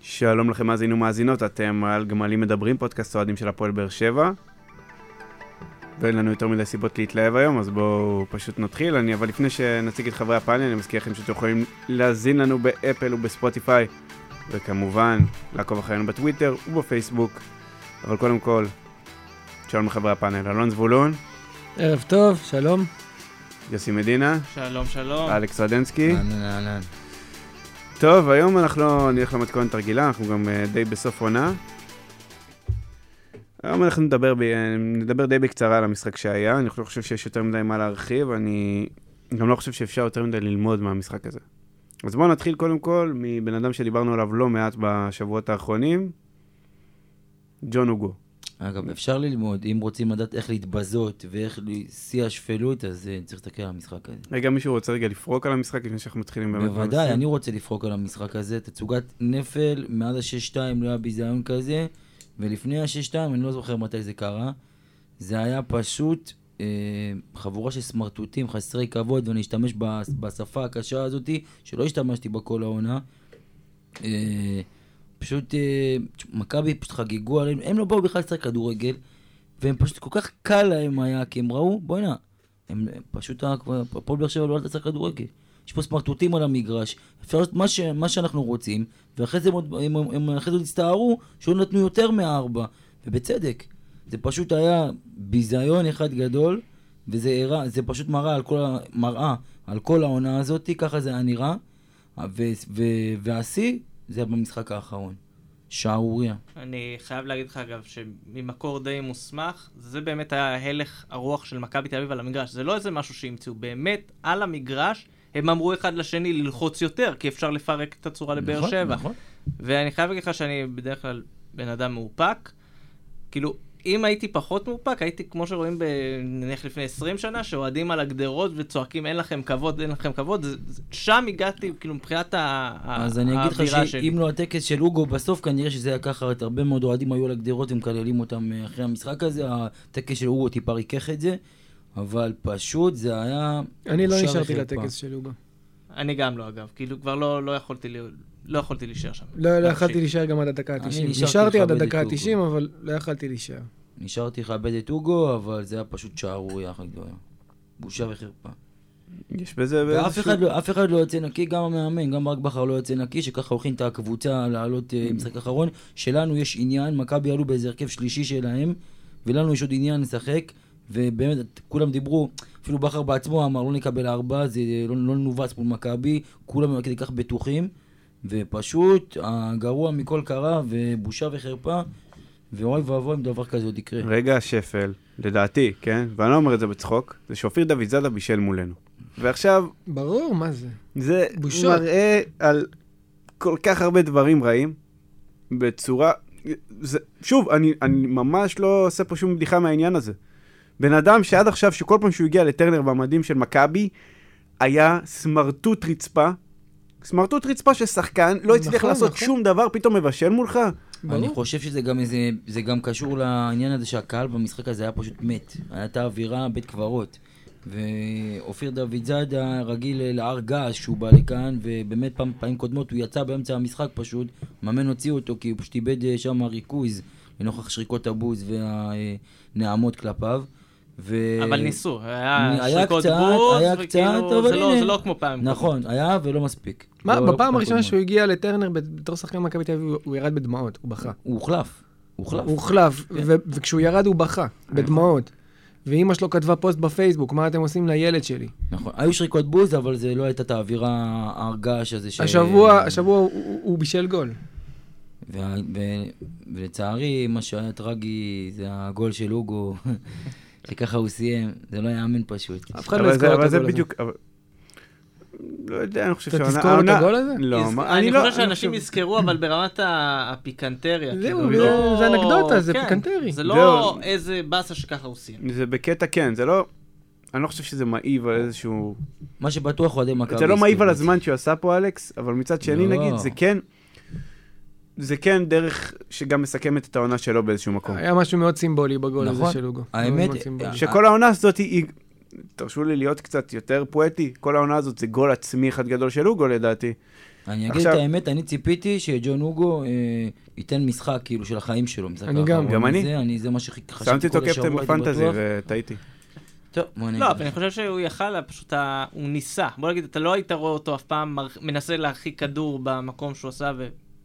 שלום לכם מאזינים ומאזינות, אתם על גמלים מדברים, פודקאסט אוהדים של הפועל באר שבע. ואין לנו יותר מדי סיבות להתלהב היום, אז בואו פשוט נתחיל. אני, אבל לפני שנציג את חברי הפאנל, אני מזכיר לכם שאתם יכולים להאזין לנו באפל ובספוטיפיי, וכמובן, לעקוב אחרינו בטוויטר ובפייסבוק. אבל קודם כל, שלום לחברי הפאנל, אלון זבולון, ערב טוב, שלום. יוסי מדינה, שלום, שלום. אלכס רדנסקי. אהלן, אהלן. טוב, היום אנחנו לא נלך למתכונת הרגילה, אנחנו גם אה, די בסוף עונה. היום אנחנו נדבר, ב... אה, נדבר די בקצרה על המשחק שהיה, אני לא חושב שיש יותר מדי מה להרחיב, אני גם לא חושב שאפשר יותר מדי ללמוד מהמשחק הזה. אז בואו נתחיל קודם כל מבן אדם שדיברנו עליו לא מעט בשבועות האחרונים, ג'ון הוגו. אגב, אפשר ללמוד, אם רוצים לדעת איך להתבזות ואיך ל- שיא השפלות, אז אה, צריך להסתכל על המשחק הזה. רגע, מישהו רוצה רגע לפרוק על המשחק לפני שאנחנו מתחילים באמת? בוודאי, בנושא? אני רוצה לפרוק על המשחק הזה. תצוגת נפל, מאז ה-6-2 לא היה ביזיון כזה, ולפני ה-6-2, אני לא זוכר מתי זה קרה. זה היה פשוט אה, חבורה של סמרטוטים חסרי כבוד, ואני אשתמש בש- בשפה הקשה הזאתי, שלא השתמשתי בה כל העונה. אה, פשוט, אה, מכבי פשוט חגגו עליהם, הם לא באו בכלל לשחק כדורגל, והם פשוט, כל כך קל להם היה, כי הם ראו, בוא'נה, הם הם פשוט, ה- הפועל באר שבע לא עלתה לשחק כדורגל. יש פה סמרטוטים על המגרש, אפשר לעשות מה, ש, מה שאנחנו רוצים, ואחרי זה הם, עוד- הם, הם, הם אחרי זה עוד הסתערו שלא נתנו יותר מארבע, ובצדק. זה פשוט היה ביזיון אחד גדול, וזה הראה, זה פשוט מראה על כל, ה- מראה על כל העונה הזאת, ככה זה היה נראה, ו- ו- והשיא זה במשחק האחרון. שערוריה. אני חייב להגיד לך אגב, שממקור די מוסמך, זה באמת היה הלך הרוח של מכבי תל אביב על המגרש. זה לא איזה משהו שהמציאו, באמת, על המגרש, הם אמרו אחד לשני ללחוץ יותר, כי אפשר לפרק את הצורה לבאר נכון, שבע. נכון. ואני חייב להגיד לך שאני בדרך כלל בן אדם מאופק. כאילו, אם הייתי פחות מאופק, הייתי כמו שרואים ב... נניח לפני 20 שנה, שאוהדים על הגדרות וצועקים אין לכם כבוד, אין לכם כבוד. זה- זה- שם הגעתי, כאילו, מבחינת ה- ה- אז אני אגיד האווירה לך שלי. שאם לא הטקס של אוגו בסוף, כנראה שזה היה ככה, את הרבה מאוד אוהדים היו על הגדרות ומקללים אותם אה, אחרי המשחק הזה, הטקס של אוגו טיפה ריכך את זה, אבל פשוט זה היה... אני לא בושה נשארתי וחרפה. לטקס של יוגה. אני גם לא, אגב. כאילו, כבר לא, לא יכולתי ל... לא יכולתי להישאר שם. לא לא נפשית. יכלתי להישאר גם עד הדקה אני ה-90. נשארתי נשארתי עד לכבד הדקה את יוגו. ה-90, אבל לא יכלתי להישאר. נשארתי לכבד את אוגו, אבל זה היה פשוט שערורייה אחת גדולה. בושה וחרפה. יש בזה ואף באיזשהו- אחד לא- אף אחד לא יוצא נקי, גם המאמן, גם ברק בכר לא יוצא נקי, שככה הולכים את הקבוצה לעלות אה, משחק אחרון. שלנו יש עניין, מכבי עלו באיזה הרכב שלישי שלהם, ולנו יש עוד עניין לשחק, ובאמת, את- כולם דיברו, אפילו בכר בעצמו אמר, לא נקבל ארבע, זה אה, לא, לא נובס מול מכבי, כולם עד כדי כך בטוחים, ופשוט הגרוע מכל קרה, ובושה וחרפה, ואוי ואבוי אם דבר כזה עוד כן. יקרה. רגע השפל, לדעתי, כן? ואני לא אומר את זה בצחוק, זה שאופיר דוידזאדה בישל מולנו. ועכשיו, ברור, מה זה? זה בושות. מראה על כל כך הרבה דברים רעים, בצורה... זה... שוב, אני, אני ממש לא עושה פה שום בדיחה מהעניין הזה. בן אדם שעד עכשיו, שכל פעם שהוא הגיע לטרנר במדים של מכבי, היה סמרטוט רצפה. סמרטוט רצפה ששחקן לא הצליח נכון, לעשות נכון. שום דבר, פתאום מבשל מולך. אני ברור. חושב שזה גם איזה, זה גם קשור לעניין הזה שהקהל במשחק הזה היה פשוט מת. הייתה אווירה בית קברות. ואופיר דוד זאדה רגיל להר געש שהוא בא לכאן, ובאמת פעם, פעמים קודמות הוא יצא באמצע המשחק פשוט, מאמן הוציא אותו כי הוא פשוט איבד אה, שם ריכוז לנוכח שריקות הבוז והנעמות כלפיו. ו... אבל ניסו, היה היה שריקות קצת, בוז, היה קצת, וכאילו, אבל זה לא- הנה. זה לא כמו פעם. נכון, היה ולא מספיק. מה, לא- לא בפעם כמו הראשונה קודמות. שהוא הגיע לטרנר בתור שחקן מכבי תל אביב, הוא- הוא ירד בדמעות, הוא בכה. הוא הוחלף. הוא הוחלף. כן. הוא הוחלף, ו- וכשהוא ירד הוא בכה, בדמעות. ואימא שלו כתבה פוסט בפייסבוק, מה אתם עושים לילד שלי? נכון, היו שריקות בוז, אבל זה לא הייתה את האווירה, הרגש הזה ש... השבוע, השבוע הוא- הוא הוא בישל גול. וה... ו... ולצערי, מה שהיה טרגי זה הגול של אוגו, שככה הוא סיים, זה לא יאמן פשוט. אף אחד לא אבל יזכור זה, את אבל זה הגול הזה. בדיוק... אבל... לא יודע, אני חושב אתה שהעונה- תזכור את העונה- הגול הזה? לא, יזכ- מה- אני לא- חושב שאנשים חושב- יזכרו, אבל ברמת ה- הפיקנטריה. זהו, כאילו, זה- לא- זה אנקדוטה, זה כן, פיקנטרי. זה זהו. לא איזה באסה שככה הוא סיים. זה בקטע כן, זה לא... אני לא חושב שזה מעיב על איזשהו... מה שבטוח אוהדי מכבי... זה לא מעיב הסכימו. על הזמן שהוא עשה פה, אלכס, אבל מצד שני, לא. נגיד, זה כן... זה כן דרך שגם מסכמת את אה, העונה שלו באיזשהו מקום. היה משהו מאוד סימבולי בגול הזה כן. נכון. של אוגו. האמת, מאוד מאוד סימבולי. אה, שכל העונה הזאת היא... תרשו לי להיות קצת יותר פואטי, כל העונה הזאת זה גול עצמי אחד גדול של אוגו לדעתי. אני אגיד את עכשיו- האמת, אני ציפיתי שג'ון אוגו אה, ייתן משחק כאילו של החיים שלו, משחק אני גם. האחרון גם אני. הזה, אני, זה מה שחשבתי כל השבוע, שמתי אותו קפטן הייתי בפנטזי בטוח. וטעיתי. טוב, בוא נגיד. לא, אבל אני חושב שהוא יכל, לה, פשוט ה- הוא ניסה. בוא נגיד, אתה לא היית רואה אותו אף פעם מר- מנסה להרחיק כדור במקום שהוא עשה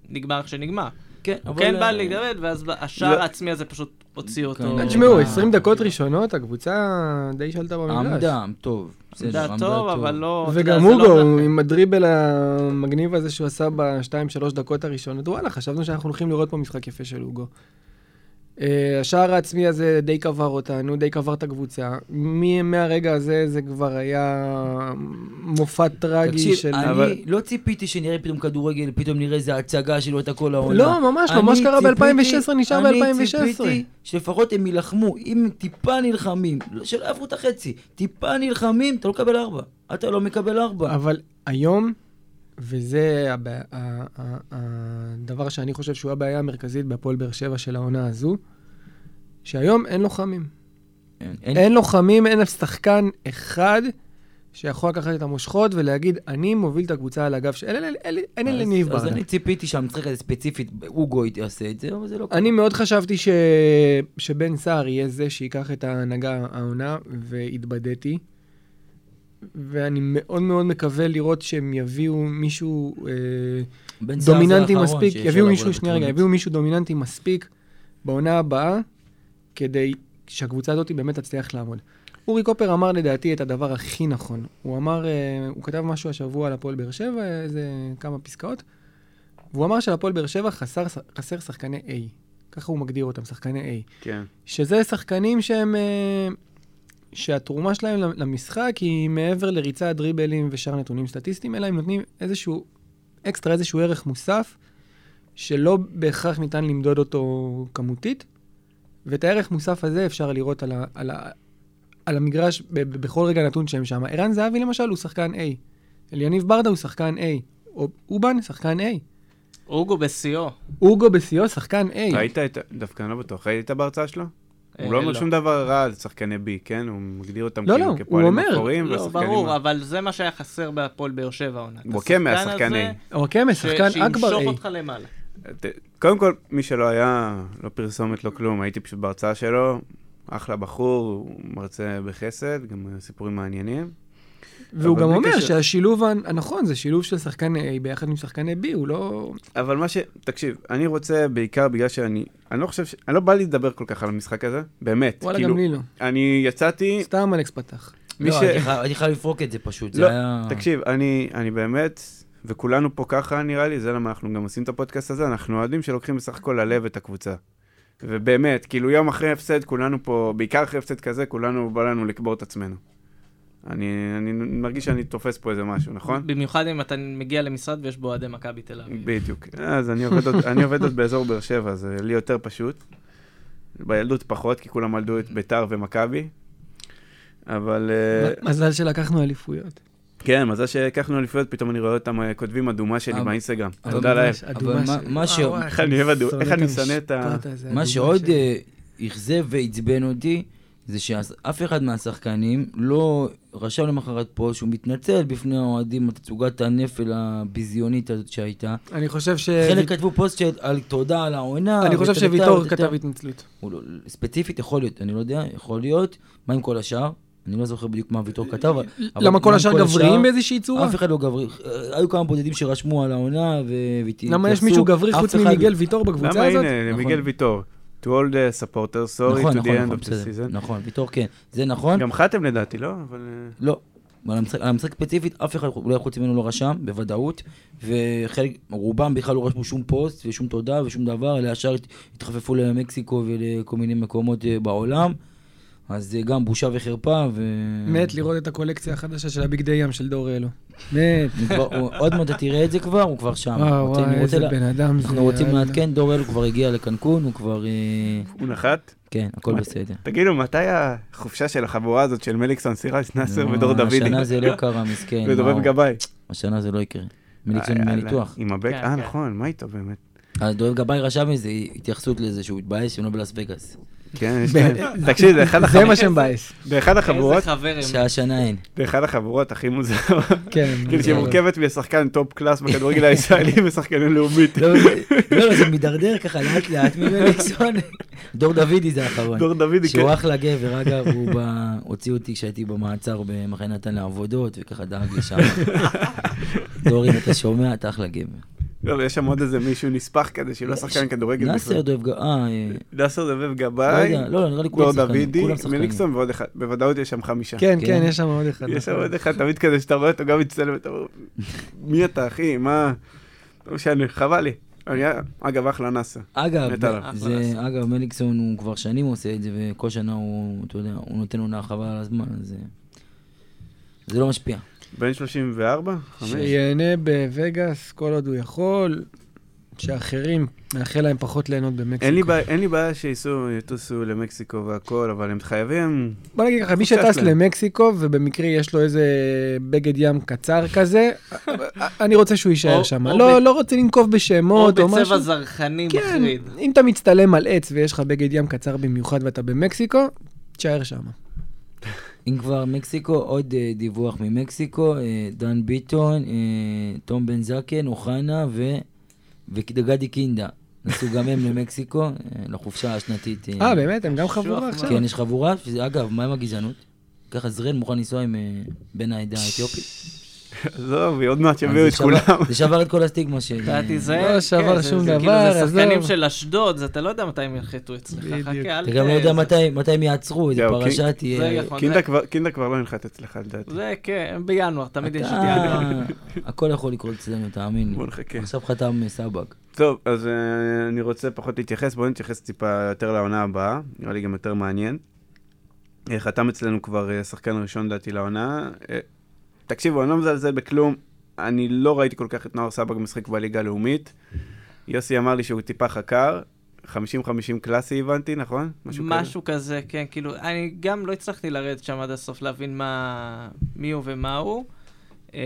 ונגמר איך שנגמר. כן, הוא אבל, כן בא אה, להתאבד, ואז ב- השער לא. העצמי הזה פשוט הוציא אותו. כן. תשמעו, אה, 20 דקות ראשונות, הקבוצה די שלטה אה? במגרש. עמדה, טוב. בסדר, עמדה טוב, אבל לא... אתה יודע, וגם זה לא אוגו, מנחם. עם הדריבל המגניב הזה שהוא עשה בשתיים, שלוש דקות הראשונות, וואלה, חשבנו שאנחנו הולכים לראות פה משחק יפה של אוגו. אה, השער העצמי הזה די קבר אותנו, די קבר את הקבוצה. מ- מהרגע הזה זה כבר היה מופע טרגי תקשיב, של... אני אבל- לא ציפיתי שנראה פתאום כדורגל, פתאום נראה איזה הצגה שלא הייתה כל העונה. לא, ממש לא, אני מה שקרה ציפיתי- ב-2016 נשאר ב-2016. אני ציפיתי שלפחות הם יילחמו, אם טיפה נלחמים, לא- שלא יעברו את החצי, טיפה נלחמים, אתה לא מקבל ארבע. אתה לא מקבל ארבע. אבל היום, וזה הב- ה- ה- ה- הדבר שאני חושב שהוא הבעיה המרכזית בהפועל באר שבע של העונה הזו, שהיום אין לוחמים. אין- אין לוחמים, אין אף שחקן אחד שיכול לקחת את המושכות ולהגיד, אני מוביל את הקבוצה על הגב של... אין- אין- אין- אין אז- אלניב אז ברדה. אני ציפיתי שהמשחק הזה ספציפית, אוגו יעשה את זה, אבל זה לא קורה. אני מאוד חשבתי ש... שבן סער יהיה זה שייקח את ההנהגה העונה, והתבדיתי. ואני מאוד מאוד מקווה לראות שהם יביאו מישהו אה, בן סער זה דומיננטי האחרון מספיק, שיכול יביאו לבוא מישהו, שנייה רגע, לתוכנית. יביאו מישהו דומיננטי מספיק בעונה הבאה, כדי שהקבוצה הזאת באמת תצליח לעמוד. אורי קופר אמר לדעתי את הדבר הכי נכון. הוא אמר, אה, הוא כתב משהו השבוע על הפועל באר שבע, איזה כמה פסקאות, והוא אמר שלפועל באר שבע חסר, חסר שחקני A. ככה הוא מגדיר אותם, שחקני A. כן. שזה שחקנים שהם... אה, שהתרומה שלהם למשחק היא מעבר לריצה, דריבלים ושאר נתונים סטטיסטיים, אלא הם נותנים איזשהו אקסטרה, איזשהו ערך מוסף, שלא בהכרח ניתן למדוד אותו כמותית, ואת הערך מוסף הזה אפשר לראות על, ה, על, ה, על המגרש ב, ב, בכל רגע נתון שהם שם. ערן זהבי למשל הוא שחקן A, אליניב ברדה הוא שחקן A, או- אובן שחקן A, אוגו בשיאו. אוגו בשיאו שחקן A. ראית את, דווקא אני לא בטוח, ראית בהרצאה שלו? אה, הוא לא אומר לא. שום דבר רע על שחקני בי, כן? הוא מגדיר אותם לא, כאילו לא, כפועלים הוא אומר, אפורים לא, והשחקנים ברור, ה- אבל זה מה שהיה חסר בהפועל באר שבע העונה. את וואקמה, השחקן השחקן הזה אוקיי, ש- שחקן אכבר אה. שימשוך A. אותך למעלה. ת- קודם כל, מי שלא היה, לא פרסומת, לא כלום, הייתי פשוט בהרצאה שלו, אחלה בחור, הוא מרצה בחסד, גם אה, סיפורים מעניינים. והוא אבל גם בלי אומר קשר- שהשילוב הנ- הנכון זה שילוב של שחקן A ביחד עם שחקני B, הוא לא... אבל מה ש... תקשיב, אני רוצה בעיקר בגלל שאני... אני לא חושב ש... אני לא בא לי לדבר כל כך על המשחק הזה, באמת. וואלה, כאילו, גם לי לא. אני יצאתי... סתם אלכס פתח. מי לא, ש- הייתי חייב- הייתי חייב לפרוק את זה פשוט, זה לא, היה... תקשיב, אני, אני באמת, וכולנו פה ככה נראה לי, זה למה אנחנו גם עושים את הפודקאסט הזה, אנחנו אוהדים שלוקחים בסך הכל ללב את הקבוצה. ובאמת, כאילו יום אחרי הפסד, כולנו פה, בעיקר אחרי הפסד כזה, כולנו בא לנו לקבור את עצמנו. אני, אני מרגיש שאני תופס פה איזה משהו, נכון? במיוחד אם אתה מגיע למשרד ויש בו אוהדי מכבי תל אביב. בדיוק. אז אני עובד עוד, אני עובד עוד באזור באר שבע, אז אה, לי יותר פשוט. בילדות פחות, כי כולם ילדו את ביתר ומכבי. אבל... אה, מזל שלקחנו אליפויות. כן, מזל שהקחנו אליפויות, פתאום אני רואה אותם אה, כותבים אדומה שלי אבל- באינסטגרם. אבל תודה להם. ממש אדומה אבל מה- ש- מה ש- וואו, וואו, איך אני אוהב אדום- שונא איך אני שונא את ה- המשפט הזה, מה אדומה שעוד ש- אה, אכזב ועצבן אותי, זה שאף אחד מהשחקנים לא רשם למחרת פה שהוא מתנצל בפני האוהדים על תצוגת הנפל הביזיונית הזאת שהייתה. אני חושב ש... אה, חלק כתבו פוסט של- על תודה על העונה. אה, אני חושב וטטטה, שוויטור וטטטה. כתב התנצלות. הוא לא- ספציפית יכול להיות, אני לא יודע, יכול להיות. מה עם כל השאר? אני לא זוכר בדיוק מה ויטור כתב. אבל- אבל מה למה עם כל השאר השאר? גבריים באיזושהי צורה? אף אחד לא גברי, אה, היו כמה בודדים שרשמו על העונה ו- והתייחסו. למה יש מישהו גברי אף חוץ אחד- לא- ממיגל ויטור בקבוצה למה הזאת? הנה, נכון. מיגל ויטור. To all the supporters, sorry נכון, to the נכון, end נכון, of the בסדר, season. נכון, ויטור כן, זה נכון. גם חתם לדעתי, לא? אבל... אה, לא. על המשחק, על המשחק ספציפית, אף אחד, אולי חוץ ממנו לא רשם, בוודאות, וחלק, רובם בכלל לא רשמו שום פוסט ושום תודה ושום דבר, אלא ישר הת- התחפפו למקסיקו ולכל מיני מקומות אה, בעולם, אז זה גם בושה וחרפה, ו... מת לראות את הקולקציה החדשה של הביג די ים של דור אלו. מת. הוא כבר- הוא- עוד מעט אתה תראה את זה כבר, הוא כבר אה, שם. וואו, אה, רוצה- וואי, אני רוצה איזה לה- בן אדם זה. אנחנו רוצים יאללה. לעדכן, דור אלו כבר הגיע לקנקון, הוא כבר... אה, הוא נחת? כן, הכל מה- בסדר. תגידו, מתי החופשה של החבורה הזאת של מליקסון, סירס, נאסר לא, ודור דוידי? השנה זה לא קרה, מסכן. ודובב מאור. גבאי. השנה זה לא יקרה. מליקסון אה, מניתוח. עם הבק? כן, אה, כן. נכון, מה איתו באמת? אז דואב גבאי רשם איזה התייחסות לזה שהוא התבאס שהם לא בלאס וגאס. כן, יש להם. תקשיב, זה אחד זה החב- מה שמבאס. אה, באחד החבורות, איזה חבר כן. הם. שהשנה אין. באחד החבורות הכי מוזרות, כן. כאילו שהיא מורכבת אה, משחקן טופ קלאס בכדורגל הישראלי ושחקנים לאומית. לא, זה- לא, זה מידרדר ככה לאט לאט ממליקסון. דור דוידי זה האחרון. דור דודי, כן. שהוא אחלה גבר, אגב, הוא ב- הוציא אותי כשהייתי במעצר במחנה נתן לעבודות, וככה דאג לי שם. דור, אם אתה שומע, אתה אחלה גבר. לא, אבל יש שם עוד איזה מישהו נספח כזה, שהוא לא שחקן כדורגל. נאסר בכלל. דואב גב... אה, אה, נאסר דבב לא גבאי, יודע, לא, נראה לי דור כולם שחקנים. דוידי, כולם שחקנים. מליקסון ועוד אחד. בוודאות יש שם חמישה. כן, כן, כן. יש שם עוד אחד. יש שם נכון. עוד אחד תמיד כזה שאתה רואה אותו גם מצטלם, אתה אומר, מי אתה אחי, מה, לא משנה, חבל לי. אני- אגב, אחלה נאסר. אגב, מת עליו. זה, אגב, מליקסון הוא כבר שנים עושה את זה, וכל שנה הוא, אתה יודע, הוא נותן עונה חבל על הזמן, אז... אה, זה לא משפיע. בן 34? חמש? שיהנה בווגאס כל עוד הוא יכול, שאחרים, נאחל להם פחות ליהנות במקסיקו. אין לי בעיה- אין לי בעיה שייסעו, יטוסו למקסיקו והכל, אבל הם חייבים... בוא נגיד ככה, מי חופשה שטס שלהם. למקסיקו ובמקרה יש לו איזה בגד ים קצר כזה, אני רוצה שהוא יישאר או- שם. או לא ב- לא רוצה לנקוב או בשמות או משהו. בצבע זרחני כן, מחריד. אם אתה מצטלם על עץ ויש לך בגד ים קצר במיוחד ואתה במקסיקו, תישאר שם. אם כבר מקסיקו, עוד אה, דיווח ממקסיקו, אה, דן ביטון, אה, תום בן זקן, אוחנה ו... וגדי קינדה. נסעו גם הם למקסיקו, אה, לחופשה השנתית. אה, באמת? הם גם חבורה שוח, עכשיו? כן, יש חבורה, שזה, אגב, מה עם הגזענות? ככה זריאל מוכן לנסוע עם אה, בן העדה האתיופית. עזוב, עוד מעט יביאו אז את זה שבר- כולם. זה שבר את כל הסטיגמה של... אתה אה, תיזהר. לא שבר כן, זה- שום זה כאילו, דבר, זה שחקנים עזוב. של אשדוד, אז אתה לא יודע מתי הם ינחתו אצלך. בדיוק. חכה, אל אתה גם לא יודע זה- מתי- מתי הם יעצרו, איזה זהו, פרשה כי- אוקיי. זה תהיה. יכול- קינדה כבר- קינדה כבר לא ינחת אצלך, לדעתי. זה כן, בינואר, תמיד יש את אתה- ינואר. הכל יכול לקרות אצלנו, תאמין לי. בוא נחכה. כן. עכשיו חתם אה, סבק. טוב, אז אה, אני רוצה פחות להתייחס, בואו נתייחס טיפה יותר לעונה הבאה, נראה לי גם יותר מעניין. אה, חתם אצלנו כבר אה, שחקן ראשון לדעתי לעונה. אה, תקשיבו, אני לא מזלזל בכלום, אני לא ראיתי כל כך את נוער סבג משחק בליגה הלאומית. יוסי אמר לי שהוא טיפה חקר, 50-50 קלאסי הבנתי, נכון? משהו כזה, כן, כאילו, אני גם לא הצלחתי לרדת שם עד הסוף, להבין מה, מי הוא ומה הוא. אה,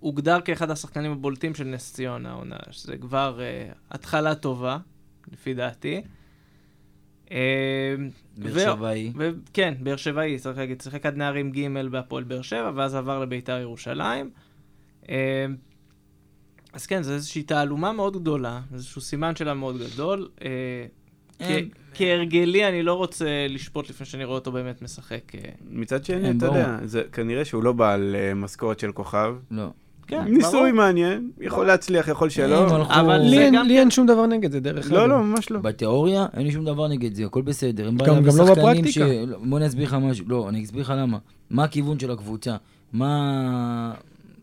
הוגדר כאחד השחקנים הבולטים של נס ציון העונה, שזה כבר אה, התחלה טובה, לפי דעתי. אה, ו- באר שבעי. ו- כן, באר שבעי, צריך להגיד, שיחק עד נערים ג' בהפועל באר שבע, ואז עבר לביתר ירושלים. אה, אז כן, זו איזושהי תעלומה מאוד גדולה, איזשהו סימן שלה מאוד גדול. אה, כ- אין. כהרגלי, אני לא רוצה לשפוט לפני שאני רואה אותו באמת משחק. אה, מצד שני, כן, אתה יודע, ברור. זה כנראה שהוא לא בעל אה, משכורת של כוכב. לא. כן, ניסוי ברור. מעניין, יכול להצליח, יכול הם שלא. הלכו- כן, לא? אבל לי זה אין- גם- לי אין שום דבר נגד זה, דרך אגב. לא, לא, ממש לא. בתיאוריה, אין לי שום דבר נגד זה, הכל בסדר. אין גם- גם לא בשחקנים בפרקטיקה. ש- לא, בוא אני אסביר לך משהו. לא, אני אסביר לך למה. מה הכיוון של הקבוצה? מה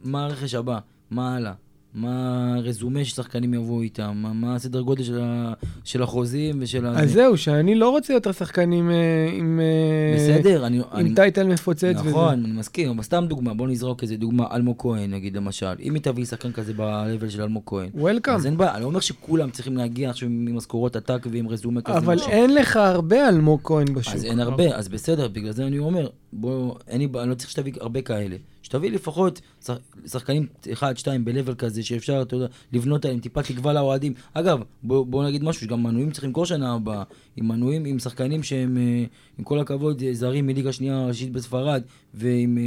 מה הרכש הבא? מה הלאה? מה הרזומה ששחקנים יבואו איתם? מה- מה הסדר גודל של ה- של החוזים ושל ה... אז זהו, שאני לא רוצה יותר שחקנים אה, עם... אה, בסדר, אני... אני- עם טייטל מפוצץ וזה. נכון, אני מסכים, אבל סתם דוגמה, בוא נזרוק איזה דוגמה, אלמוג כהן נגיד, למשל. אם היא תביא שחקן כזה ב-level של אלמוג כהן. אז וולקאם. אין בעיה, אני לא אומר שכולם צריכים להגיע עכשיו עם משכורות עתק ועם רזומה כזה. לא. אבל משהו. אין לך הרבה אלמוג כהן בשוק. אז אין הרבה, אז בסדר, בגלל זה אני אומר, בוא, אין לי, בעיה, אני לא צריך שתביא הרבה כאלה. שתביא לפחות שח- שחקנים אחד, שתיים, ב-level כזה, שאפשר, אתה יודע, לבנות עליהם טיפה תקווה לאוהדים. אגב, בוא, בוא נגיד משהו, שגם מנויים צריכים כל שנה הבאה, עם מנויים, עם שחקנים שהם, אה, עם כל הכבוד, אה, זרים מליגה שנייה ראשית בספרד, ועם, אה,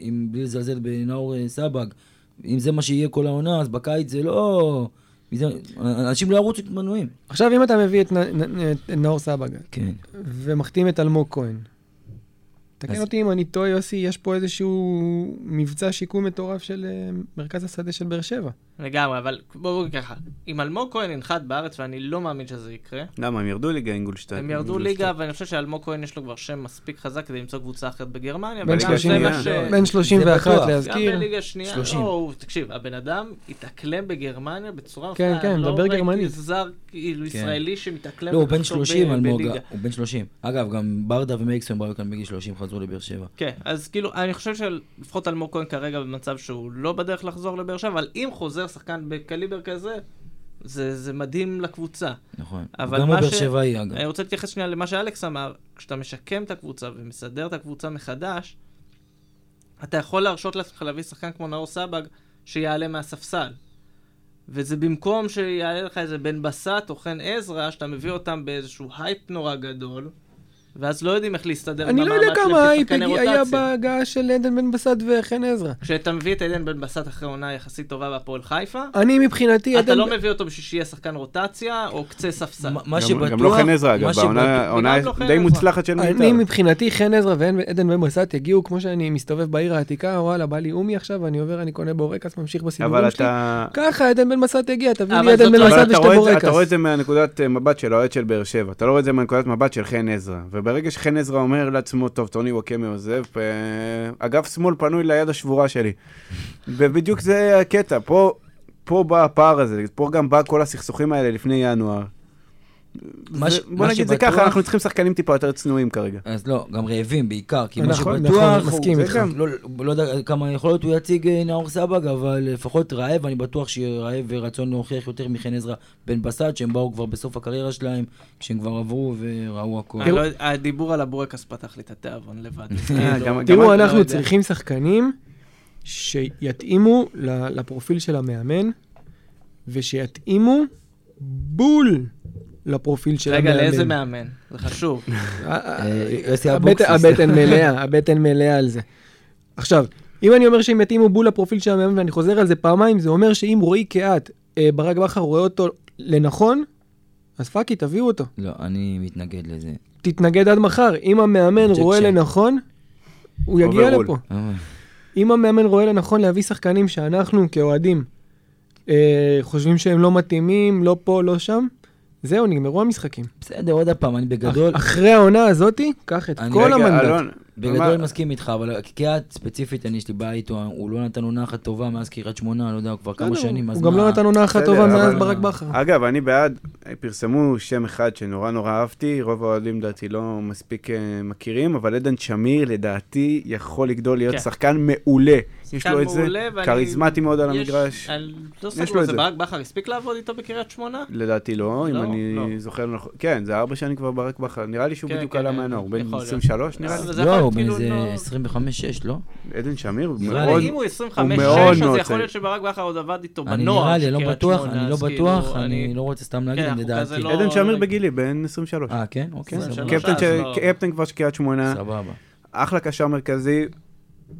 עם, בלי לזלזל, בנאור אה, סבג. אם זה מה שיהיה כל העונה, אז בקיץ זה לא... זה- אנשים לא ירוצו את מנויים. עכשיו, אם אתה מביא את נ- נ- את נאור סבג כן. ומחתים את אלמוג כהן, תקן אז- אותי אם אני טועה, יוסי, יש פה איזשהו מבצע שיקום מטורף של אה, מרכז השדה של באר שבע. כן, לגמרי, אבל בואו נגיד ככה, אם אלמוג כהן ינחת בארץ, ואני לא מאמין שזה יקרה, למה, הם ירדו ליגה אינגולשטיין. הם ירדו ליגה, ואני חושב שאלמוג כהן יש לו כבר שם מספיק חזק כדי למצוא קבוצה אחרת בגרמניה, בין וגם בליגה זה מה השנייה. אה, ש... לא, בין 31 בטוח. גם להזכיר. בליגה שנייה, 30. לא, הוא- תקשיב, הבן אדם התאקלם בגרמניה בצורה... כן, מפתיעה. כן, מדבר לא גרמנית. כן. ראיתי זר, כאילו, ישראלי שמתאקלם... לא, הוא בן ונחתום 30 ב- אלמוג, בליגה. הוא בן 30. אגב, גם ברדה ומליקסון באו כאן בגיל 30, חזרו לבאר שבע. כן, אז כאילו, אני חושב שלפחות אלמוג כהן כרגע במצב שהוא לא בדרך לחזור לבאר שבע, אבל אם חוזר שחקן בקליבר כזה, זה, זה מדהים לקבוצה. נכון. אבל גם הוא מה באר ש- אה, שבעי, נכון. אגב. אני רוצה להתייחס שנייה למה שאלכס אמר, כשאתה משקם את הקבוצה ומסדר את הקבוצה מחדש, אתה יכול להרשות לעצמך להביא שחקן כמו נאור סבג, שיעלה מהספסל. וזה במקום שיעלה לך איזה בן בסט או חן עזרא, שאתה מביא אותם באיזשהו הייפ נורא גדול, ואז לא יודעים איך להסתדר אני לא יודע במאמץ כמה לפי הייפ שחקני הגיע- היה רוטציה. בהגעה של עדן בן בסט וחן עזרא. כשאתה מביא את עדן בן בסט אחרי עונה יחסית טובה בהפועל חיפה, אני מבחינתי, אתה אה, עדן- לא מביא אותו בשביל שיהיה שחקן רוטציה או קצה ספסל. מה- מה גם- שבטוח... גם לא חן עזרא, מה אגב, שבטוח- בעונה עונה לא חן די עזרא. מוצלחת של בית"ר. אני מבחינתי, חן עזרא ועדן בן בסט יגיעו, כמו שאני מסתובב בעיר העתיקה, וואלה, בא לי אומי עכשיו, אני עובר, אני קונה בורקס, ממשיך אבל בסיבובים שלי. לא אתה... ככה, עדן בן בסט יגיע, תביא לי אבל עדן זאת- בן אבל בסט אבל אתה ושתי רואה, את זה, בורקס. אתה רואה את זה מהנקודת אה, מבט של האוהד של באר שבע, אתה לא רואה את זה מהנקודת מבט של חן עזרא. וברגע שחן עזרא אומר לעצמו, טוב, טוני ווקמי עוזב, אה, אגף שמאל פנוי ליד השבורה שלי. ובדיוק זה הקטע, פה, פה בא הפער הזה, פה גם בא כל הסכסוכים האלה לפני ינואר. מה ש- זה- בוא מה נגיד זה שבטוח- ככה, אנחנו צריכים שחקנים טיפה יותר צנועים כרגע. אז לא, גם רעבים בעיקר, כי מה נכון, שבטוח... נכון, הוא- מסכים זה איתך. גם- לא, לא יודע כמה יכול להיות הוא יציג אה, נאור סבג, אבל לפחות רעב, אני בטוח שיהיה רעב ורצון להוכיח יותר מחן עזרא בן בסט, שהם באו כבר בסוף הקריירה שלהם, כשהם כבר עברו וראו הכול. אני לא יודע, הדיבור על הבורקס פתח לי את התיאבון לבד. כאילו, אה, גם- גם תראו, אני לא אנחנו יודע. צריכים שחקנים שיתאימו ל- לפרופיל של המאמן, ושיתאימו בול לפרופיל של המאמן. רגע, לאיזה מאמן? זה חשוב. אה, אה, יוסי הבטן- אבוקסיס. הבטן מלאה, הבטן מלאה על זה. עכשיו, אם אני אומר שהם יתאימו בול לפרופיל של המאמן, ואני חוזר על זה פעמיים, זה אומר שאם רועי קהת, אה, ברק בכר רואה אותו לנכון, אז פאקי, תביאו אותו. לא, אני מתנגד לזה. תתנגד עד מחר. אם המאמן Objection. רואה לנכון, הוא יגיע Overruled. לפה. אה, אם המאמן רואה לנכון להביא שחקנים שאנחנו כאוהדים אה, חושבים שהם לא מתאימים, לא פה, לא שם, זהו, נגמרו המשחקים. בסדר, עוד פעם, אני בגדול... אח- אחרי העונה הזאתי, קח את אני- כל רגע, המנדט. אלון, בגדול מה- אני מסכים איתך, אבל קיאט ספציפית, אני יש לי בעיה איתו, הוא לא נתן עונה אחת טובה מאז קריית שמונה, לא יודע, כבר כמה בסדר, שנים, אז הוא גם מה- לא נתן עונה אחת בסדר, טובה אבל- מאז ברק בכר. אגב, אני בעד, פרסמו שם אחד שנורא נורא אהבתי, רוב האוהדים לדעתי לא מספיק אה, מכירים, אבל עדן שמיר לדעתי יכול לגדול להיות כן. שחקן מעולה. יש לו את זה, מעולה, ואני- כריזמטי מאוד על יש- המגרש. אני לא לו סגור את זה. זה. ברק בכר הספיק לעבוד איתו בקריית שמונה? לדעתי לא, אם לא, אני לא. זוכר נכון. כן, זה ארבע שנים כבר ברק בכר, נראה לי שהוא כן, בדיוק כן, עלה כן. מהנוער, הוא בן יכול להיות. 23 נראה לי. אבל זה יכול לא, הוא להיות בן כאילו איזה לא- 25-6, לא? עדן שמיר, הוא נראה לי, מאוד... אם הוא 25 הוא מאוד שש, אז מאוד יכול להיות צעיר. שברק בכר עוד עבד איתו אני בנוער. נראה לי, של לא קריית בטוח, שמונה, אני לא אז בטוח, כאילו, אני לא רוצה סתם להגיד, כן, אנחנו לדעתי. כזה לא- עדן שמיר רגע. בגילי, בן 23. אה, כן? אוקיי, כן, סבבה. שלוש. קפטן אז של- לא- קפטן כבר של קריית שמונה. סבבה. אחלה קשר מרכזי,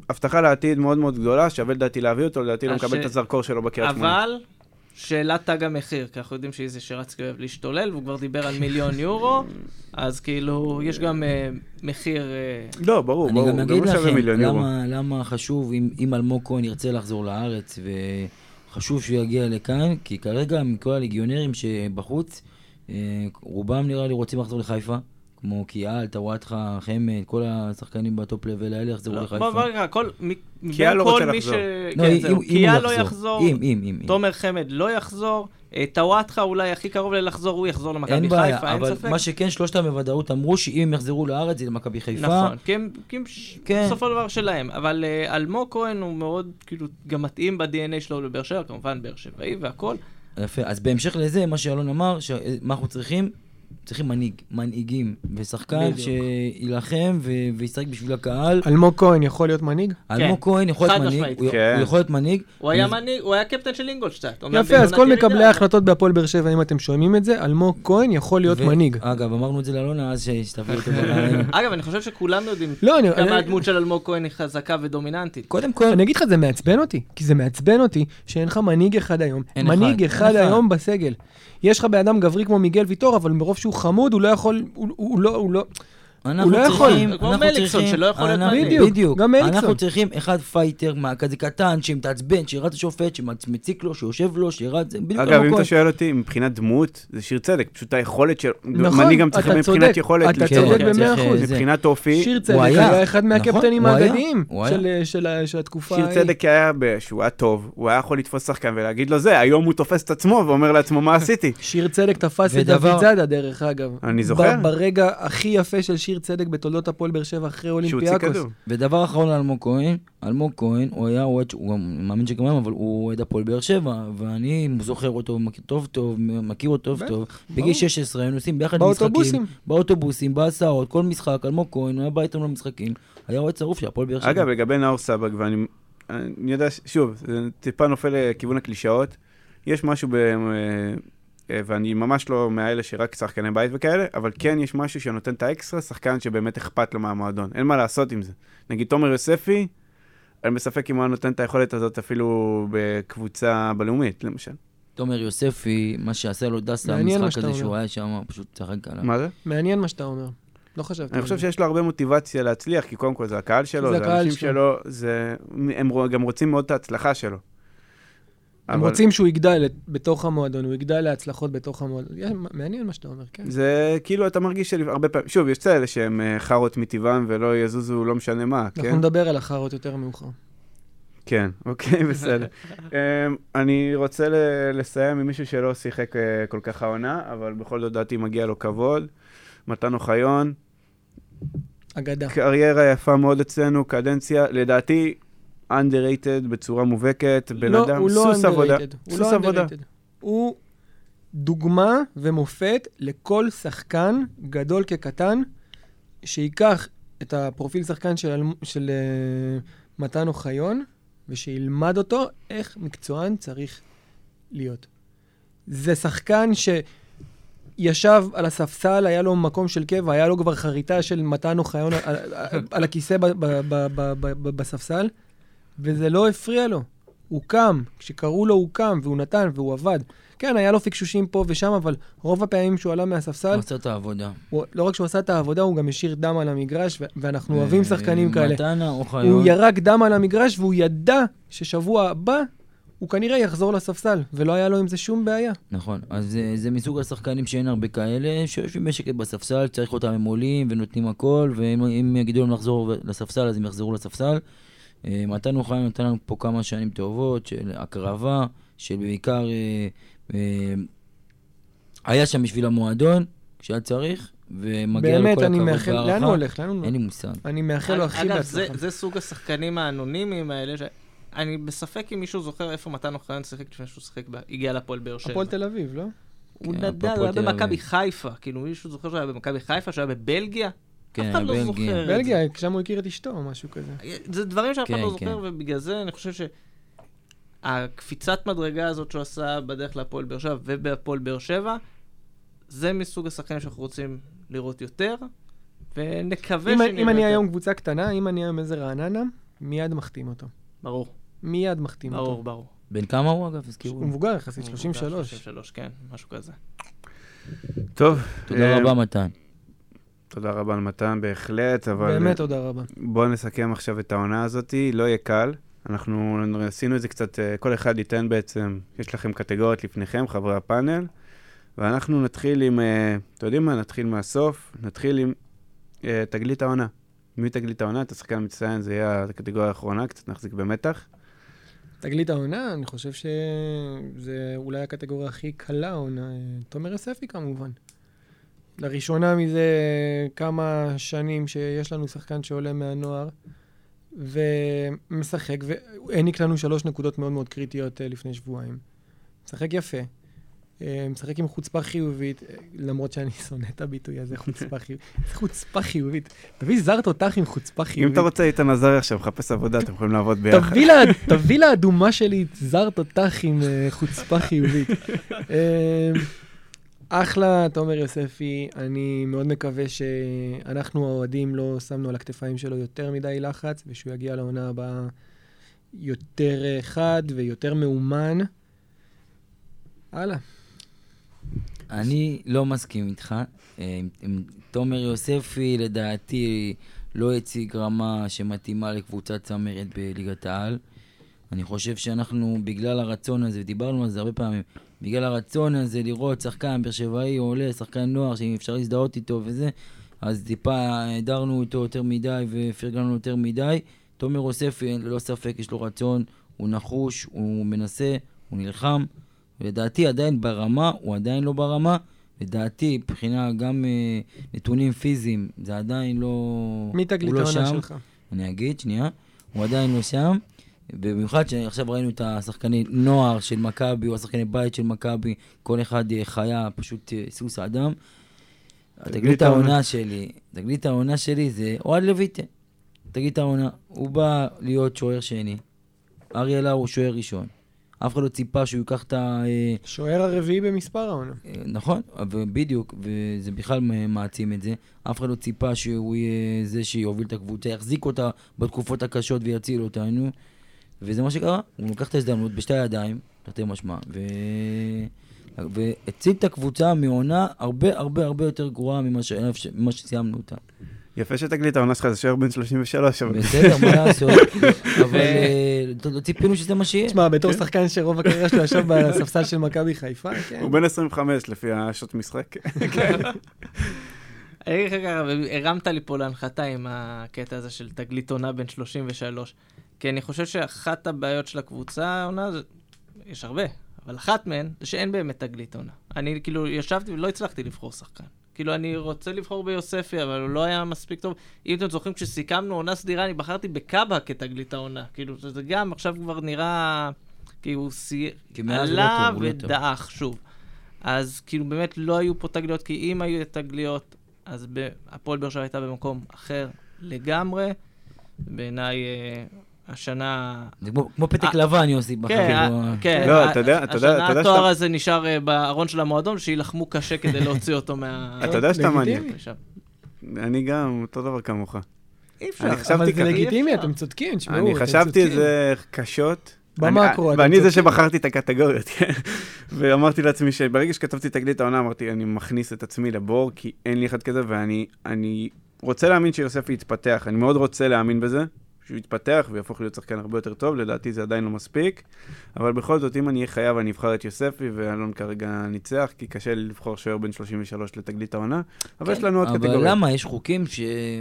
הבטחה לעתיד מאוד מאוד גדולה, שווה לדעתי להביא אותו, לדעתי לא אז מקבל ש- את הזרקור שלו בקריית שמונה. אבל, שאלת תג המחיר, כי אנחנו יודעים שאיזי שרצקי אוהב להשתולל, והוא כבר דיבר על מיליון יורו, אז כאילו, יש גם אה, מחיר... אה, לא, ברור, אני ברור, גם גם אגיד לא שווה לכם מיליון יורו. למה, למה חשוב, אם, אם אלמוג כהן ירצה לחזור לארץ, וחשוב שהוא יגיע לכאן, כי כרגע מכל הליגיונרים שבחוץ, אה, רובם נראה לי רוצים לחזור לחיפה, כמו קיאל, טוואטחה, חמד, כל השחקנים בטופ לבל האלה יחזרו לא, לחיפה. בוא בוא רגע, כל... מ- מבין קיאל לא כל רוצה מי לחזור. ש- לא, כן, אם- זהו, אם- אם קיאל הוא לא יחזור, אם, אם, אם. אם. תומר חמד לא יחזור, אה, טוואטחה אולי הכי קרוב ללחזור, הוא יחזור אין למכבי חיפה, בעיה, אין אבל ספק. מה שכן, שלושתם בוודאות אמרו שאם הם יחזרו לארץ זה למכבי חיפה. נכון, כי הם, כי הם ש... כן. בסופו של דבר שלהם. אבל אה, אלמוג כהן הוא מאוד, כאילו, גם מתאים ב-DNA שלו לבאר שבע, כמובן באר שבעי והכל. יפה, אז בהמשך לזה, מה שאלון אמר, ש... מה אנחנו צריכים? צריכים מנהיג, מנהיגים, ושחקן בדיוק. כן. שיילחם ו... וישחק בשביל הקהל. אלמוג כהן יכול להיות מנהיג? אלמוג כהן יכול להיות חד מנהיג, משמעית. הוא... כן. הוא יכול להיות מנהיג. הוא היה אני- מנהיג, הוא היה קפטן של אינגולשטאט. אומנם לא יפה, אז בעונת כל ירידה, מקבלי אבל- ההחלטות בהפועל באר שבע, אם אתם שומעים את זה, אלמוג כהן יכול להיות ו- אה, מנהיג. אגב, אמרנו את זה לאלונה, אז ש- שתביאו אותו ברעיון. אגב, אני חושב שכולם יודעים לא, אני- כמה אני- הדמות של אלמוג כהן היא חזקה ודומיננטית. קודם כל, אני אגיד לך, זה מעצבן אותי, כי זה מעצבן אותי שאין לך מנהיג אחד היום. אין מנהיג אחד, אחד אין אחד. היום בסגל. יש לך בן אדם גברי כמו מיגל ויטור, אבל מרוב שהוא חמוד, הוא לא יכול, הוא- הוא לא, הוא לא... אנחנו לא יכול. צריכים, כמו אנחנו מליקסון, צריכים, שלא יכול להיות אנחנו- מנהיג. בדיוק, גם מליקסון. אנחנו צריכים אחד פייטר, מה, כזה קטן, שמתעצבן, שירד לשופט, שמציק לו, שיושב לו, שירד, זה בדיוק אגב, אם אוקיי. כהן. אתה שואל אותי, מבחינת דמות, זה שיר צדק, פשוט היכולת של... נכון, מנהיג גם אתה צריך צודק, מבחינת יכולת. אתה לשלוט. כן, צודק כן, במאה צריך, אחוז. זה- מבחינת אופי, שיר צדק היה, היה אחד נכון, מהקפטנים הוא היה, האגדיים הוא של- אה, היה. של ה- של התקופה שיר ההיא. צדק היה ב- שהוא היה טוב, הוא היה יכול לתפוס שחקן ולהגיד לו זה, היום הוא תופס את עצמו ואומר לעצמו מה עשיתי. שיר צדק תפס את ודבר- דוד זאדה, דרך אגב. אני זוכר. ב- ברגע הכי יפה של שיר צדק בתולדות הפועל באר שבע אחרי שהוא הוציא אולימפיאקוס. כדור. ודבר אחרון על אלמוג כהן, אלמוג כהן, הוא היה אוהד, הוא גם- אני מאמין שגם היום, אבל הוא אוהד הפועל באר שבע, ואני זוכר אותו מכיר טוב טוב, מכיר אותו טוב בטח, טוב. ברור. בגיל 16 היינו נוסעים ביחד באוטובוסים. למשחקים, באוטובוסים, בהסעות, כל משחק, אלמוג כהן, הוא היה בא איתנו למשחקים, היה אוהד שרוף של הפועל באר שבע. אגב, לגבי נאור סבג, ואני אני יודע, ש- שוב, זה טיפה נופל לכיוון הקלישאות, יש משהו, ב... אה, ואני ממש לא מאלה שרק שחקני בית וכאלה, אבל כן יש משהו שנותן את האקסטרה, שחקן שבאמת אכפת לו מהמועדון, אין מה לעשות עם זה. נגיד תומר יוספי, אני בספק אם הוא היה נותן את היכולת הזאת אפילו בקבוצה בלאומית, למשל. תומר יוספי, מה שעשה לו דסה, מעניין מה המשחק שאתה הזה אומר. שהוא היה שם, פשוט צחק אה. עליו. מה זה? מעניין מה שאתה אומר. לא חשבתי. אני על חושב זה. שיש לו הרבה מוטיבציה להצליח, כי קודם כל זה הקהל שלו, זה זה הקהל האנשים שלו. שלו, זה... הם רוא- גם רוצים מאוד את ההצלחה שלו. הם אבל רוצים שהוא יגדל את- בתוך המועדון, הוא יגדל להצלחות בתוך המועדון. יש- מעניין מה שאתה אומר, כן. זה כאילו, אתה מרגיש שהרבה פעמים, שוב, יש כאלה שהם אה, חארות מטבעם ולא יזוזו לא משנה מה, כן? אנחנו נדבר על החארות יותר מאוחר. כן, אוקיי, בסדר. אמ, אני רוצה ל- לסיים עם מישהו שלא שיחק אה, כל כך העונה, אבל בכל זאת דעתי מגיע לו כבוד. מתן אוחיון, אגדה. קריירה יפה מאוד אצלנו, קדנציה, לדעתי, underrated בצורה מובהקת, בן לא, אדם, הוא לא סוס עבודה. underrated. הוא סוס לא עבודה. underrated. הוא דוגמה ומופת לכל שחקן, גדול כקטן, שייקח את הפרופיל שחקן של, אל- של אה, מתן אוחיון, ושילמד אותו איך מקצוען צריך להיות. זה שחקן שישב על הספסל, היה לו מקום של קבע, היה לו כבר חריטה של מתן אוחיון על, על, על הכיסא ב, ב, ב, ב, ב, ב, בספסל, וזה לא הפריע לו. הוא קם, כשקראו לו הוא קם, והוא נתן, והוא עבד. כן, היה לו פקשושים פה ושם, אבל רוב הפעמים שהוא עלה מהספסל, הוא לא עשה את העבודה. הוא, לא רק שהוא עשה את העבודה, הוא גם השאיר דם על המגרש, ו- ואנחנו אוהבים שחקנים אה, כאלה. מתן אוחיון. הוא ירק דם על המגרש, והוא ידע ששבוע הבא הוא כנראה יחזור לספסל, ולא היה לו עם זה שום בעיה. נכון, אז אה, זה מסוג השחקנים שאין הרבה כאלה, שיושבים בשקט בספסל, צריך אותם הם עולים ונותנים הכל, ואם אם יגידו להם לחזור לספסל, אז הם יחזרו לספסל. אה, מתן אוחיון נתן לנו פה כמה שנים טובות של הקרבה, של בעיקר... אה, אה, היה שם בשביל המועדון, כשהיה צריך, ומגיע לו כל באמת, הכבוד והערכה. אני מאחל, לאן הוא הולך? לאן הוא אין הולך? לי מושג. אני מאחל לא, לו הכי אגב, זה, בהצלחה. זה סוג השחקנים האנונימיים האלה, ש... אני בספק אם מישהו זוכר איפה מתן אוחיון שיחק לפני שהוא שיחק, ב... הגיע להפועל באר שבע. הפועל תל אביב, לא? הוא כן, נדל, הוא הפועל היה תל אביב. במכבי חיפה, כאילו מישהו זוכר שהוא היה במכבי חיפה, שהוא היה בבלגיה? כן, אף אחד לא בלגיה. זוכר את זה. בלגיה, שם הוא הכיר את אשתו או משהו כזה. זה דברים שאף אחד כן, לא זוכר, כן. ובגלל זה אני חושב שהקפיצת מדרגה הזאת שהוא עשה בדרך להפועל באר שבע ובהפועל באר שבע, זה מסוג השחקנים שאנחנו רוצים לראות יותר, ונקווה אם- שנראה אם אני יותר. היום קבוצה קטנה, אם אני היום איזה רעננה, מיד מחתים אותו. ברור, מיד מחתים ברור, אותו. ברור. בן כמה הוא אגב? הזכירו הוא לי. מבוגר יחסית, הוא 33. 33, כן, משהו כזה. טוב. תודה אה, אמ, רבה מתן. תודה רבה על מתן, בהחלט, אבל... באמת תודה רבה. בואו נסכם עכשיו את העונה הזאת, לא יהיה קל. אנחנו עשינו את זה קצת, אה, כל אחד ייתן בעצם, יש לכם קטגוריות לפניכם, חברי הפאנל, ואנחנו נתחיל עם, אה, אתם יודעים מה? נתחיל מהסוף, נתחיל עם אה, תגלית העונה. מי תגלית העונה? את השחקן המצטיין, זה יהיה הקטגוריה האחרונה, קצת נחזיק במתח. תגלית העונה, אני חושב שזה אולי הקטגוריה הכי קלה העונה, אה, תומר יוספי כמובן. לראשונה מזה כמה שנים שיש לנו שחקן שעולה מהנוער ומשחק, והעניק לנו שלוש נקודות מאוד מאוד קריטיות אה, לפני שבועיים. משחק יפה, אה, משחק עם חוצפה חיובית, אה, למרות שאני שונא את הביטוי הזה, חוצפה חיובית. חוצפה חיובית. תביא זר תותח עם חוצפה אם חיובית. אתה רוצה, איתן עזרי עכשיו, מחפש עבודה, אתם יכולים לעבוד ביחד. תביא לה- תביא לאדומה שלי זר תותח עם אה, חוצפה חיובית. אה, אחלה, תומר יוספי, אני מאוד מקווה שאנחנו האוהדים לא שמנו על הכתפיים שלו יותר מדי לחץ, ושהוא יגיע לעונה הבאה יותר אה, חד ויותר מאומן. הלאה. אני לא מסכים איתך. אה, עם- עם תומר יוספי, לדעתי, לא הציג רמה שמתאימה לקבוצת צמרת בליגת העל. אני חושב שאנחנו, בגלל הרצון הזה, ודיברנו על זה הרבה פעמים, בגלל הרצון הזה לראות שחקן באר שבעי עולה, שחקן נוער, שאפשר להזדהות איתו וזה, אז טיפה הדרנו אותו יותר מדי ופרגנו יותר מדי. תומר יוספי, ללא ספק, יש לו רצון, הוא נחוש, הוא מנסה, הוא נלחם. לדעתי עדיין ברמה, הוא עדיין לא ברמה. לדעתי, מבחינה גם אה, נתונים פיזיים, זה עדיין לא... מי תגלית הוא לא העונה שם. שלך? אני אגיד, שנייה. הוא עדיין לא שם. במיוחד שעכשיו ראינו את השחקני נוער של מכבי, או השחקני בית של מכבי, כל אחד אה, חיה, פשוט אה, סוס אדם. תגלית העונה שלי, תגלית העונה שלי זה אוהד לויטה. תגלית העונה, הוא בא להיות שוער שני. אריאל לאו הוא שוער ראשון. אף אחד לא ציפה שהוא ייקח את ה... אה, שוער הרביעי במספר העונה. אה, נכון, אבל בדיוק, וזה בכלל מ- מעצים את זה. אף אחד לא ציפה שהוא יהיה זה שיוביל את הקבוצה, יחזיק אותה בתקופות הקשות ויציל אותנו. וזה מה שקרה, הוא לקח את ההזדמנות בשתי הידיים, תרתי משמע, ו... והציל את הקבוצה מעונה הרבה הרבה הרבה יותר גרועה ממה, ש... ממה שסיימנו אותה. יפה שתגלית העונה שלך, זה שוער בן 33, אבל... בסדר, מה לעשות? אבל אה, לא- לא ציפינו שזה מה שיהיה. תשמע, בתור שחקן שרוב הקריירה שלו ישב בספסל של מכבי חיפה, כן. הוא בן 25 לפי השעות משחק. אני אגיד לך ככה, אה, הרמת לי פה להנחתה עם הקטע הזה של תגלית עונה בן 33. כי אני חושב שאחת הבעיות של הקבוצה העונה, זה- יש הרבה, אבל אחת מהן זה שאין באמת תגלית עונה. אני כאילו ישבתי ולא הצלחתי לבחור שחקן. כאילו, אני רוצה לבחור ביוספי, אבל הוא לא היה מספיק טוב. אם אתם זוכרים, כשסיכמנו עונה סדירה, אני בחרתי בקאבה כתגלית העונה. כאילו, זה זה גם עכשיו כבר נראה... כי הוא סי... כי מאז הוא לא עלה טוב, הוא לא טוב. ודעך שוב. אז כאילו באמת לא היו פה תגליות, כי אם היו תגליות, אז ב- הפועל באר שבע הייתה במקום אחר לגמרי. בעיניי, אה, השנה... זה כמו- כמו פתק אה, לבן, יוסי, בחר. כן, כאילו, אה, כן. לא, ה- אתה יודע- אתה יודע- השנה אתה יודע התואר שאתה- הזה נשאר אה, בארון של המועדון, שיילחמו קשה כדי להוציא אותו מה... לא, אתה יודע שאתה לגיטימי. מניאק. שם. אני גם אותו דבר כמוך. אי אפשר. אני אה, אבל חשבתי זה ככה. לגיטימי, אי אפשר. אתם צודקים, תשמעו, אני אתם חשבתי את צודקים. זה קשות. במקרו, אני- אתם ואני זה צודקים. שבחרתי את הקטגוריות, כן. ואמרתי לעצמי שברגע שכתבתי תגלית העונה, אמרתי, אני מכניס את עצמי לבור, כי אין לי אחד כזה, ואני אני רוצה להאמין שיוספי יתפתח. אני מאוד רוצה להאמין בזה, שהוא יתפתח ויהפוך להיות שחקן הרבה יותר טוב, לדעתי זה עדיין לא מספיק. אבל בכל זאת, אם אני אהיה חייב, אני אבחר את יוספי, ואלון כרגע ניצח, כי קשה לי לבחור שוער בן 33 לתגלית העונה, כן. אבל כן. יש לנו עוד אבל קטגוריה. למה? יש חוקים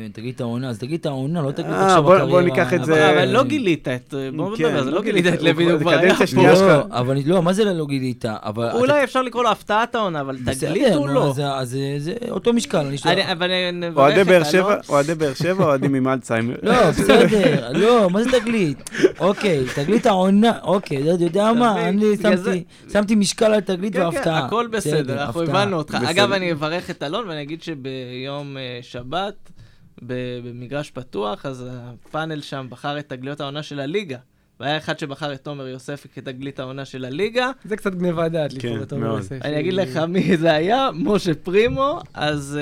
שתגיד את העונה, אז תגיד את העונה, לא תגיד אה, עכשיו בוא- בוא הקריירה. ניקח את אבל- זה- אבל לא גילית את... בואו כן, נדבר על זה, לא גילית את הוא- לוי, הוא כבר היה קדנציה פה. שנייה שלך. לא, אבל אני- לא, מה זה לא גילית? אבל... אולי אפשר לקרוא לו הפתעת העונה, אבל אתה- תגלית בסדר, הוא נו, לא. אז- אז אה, זה אותו משקל, אני שואל. אני- אבל אני מברך אוהדי את באר אלון. שבע, אוהדי באר שבע, אוהדים עם אלצהיימר. לא, בסדר, לא, מה זה תגלית? אוקיי, תגלית העונה, אוקיי, אתה יודע מה, תבין, אני בגלל שמתי- שמתי משקל על תגלית כן, כן, והפתעה. הכל בסדר, אנחנו הפתעה. הבנו אותך. בסדר. אגב, אני אברך את אלון ואני אגיד שביום אה, שבת, ב- במגרש פתוח, אז הפאנל שם בחר את תגליות העונה של הליגה. והיה אחד שבחר את תומר יוספי כתגלית העונה של הליגה. זה קצת גניבת דעת, לקרוא כן, אותו אה, מאוד. מנסה. אני אגיד לך מי זה היה, משה פרימו, אז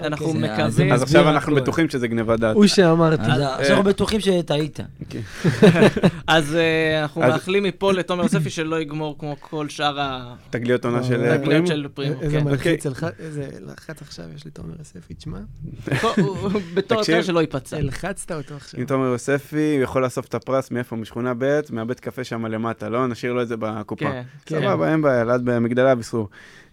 אה, אנחנו זה- אז מקווים... אז מסביר עכשיו אנחנו הכל. בטוחים שזה גנבת דעת. הוא שאמרתי. אז אה, עכשיו אנחנו בטוחים שטעית. אז אה, אנחנו אז- מאחלים מפה לתומר יוספי שלא יגמור כמו כל שאר תגליות עונה של אה, אוקיי. פרימו. התגליות של פרימו. איזה כן. מלחיץ, אלח- איזה לחץ עכשיו יש לתומר יוספי, תשמע, הוא- הוא- הוא- בתור תקשיב. יותר שלא ייפצע. הלחצת אותו עכשיו. עם אה, תומר יוספי, הוא יכול לאסוף את הפרס מאיפה? משכונה ב', מהבית קפה שם למטה, לא? נשאיר לו את זה בקופה. כן, כן. סבבה, אין בעיה, ליד במגדלי אביסרור.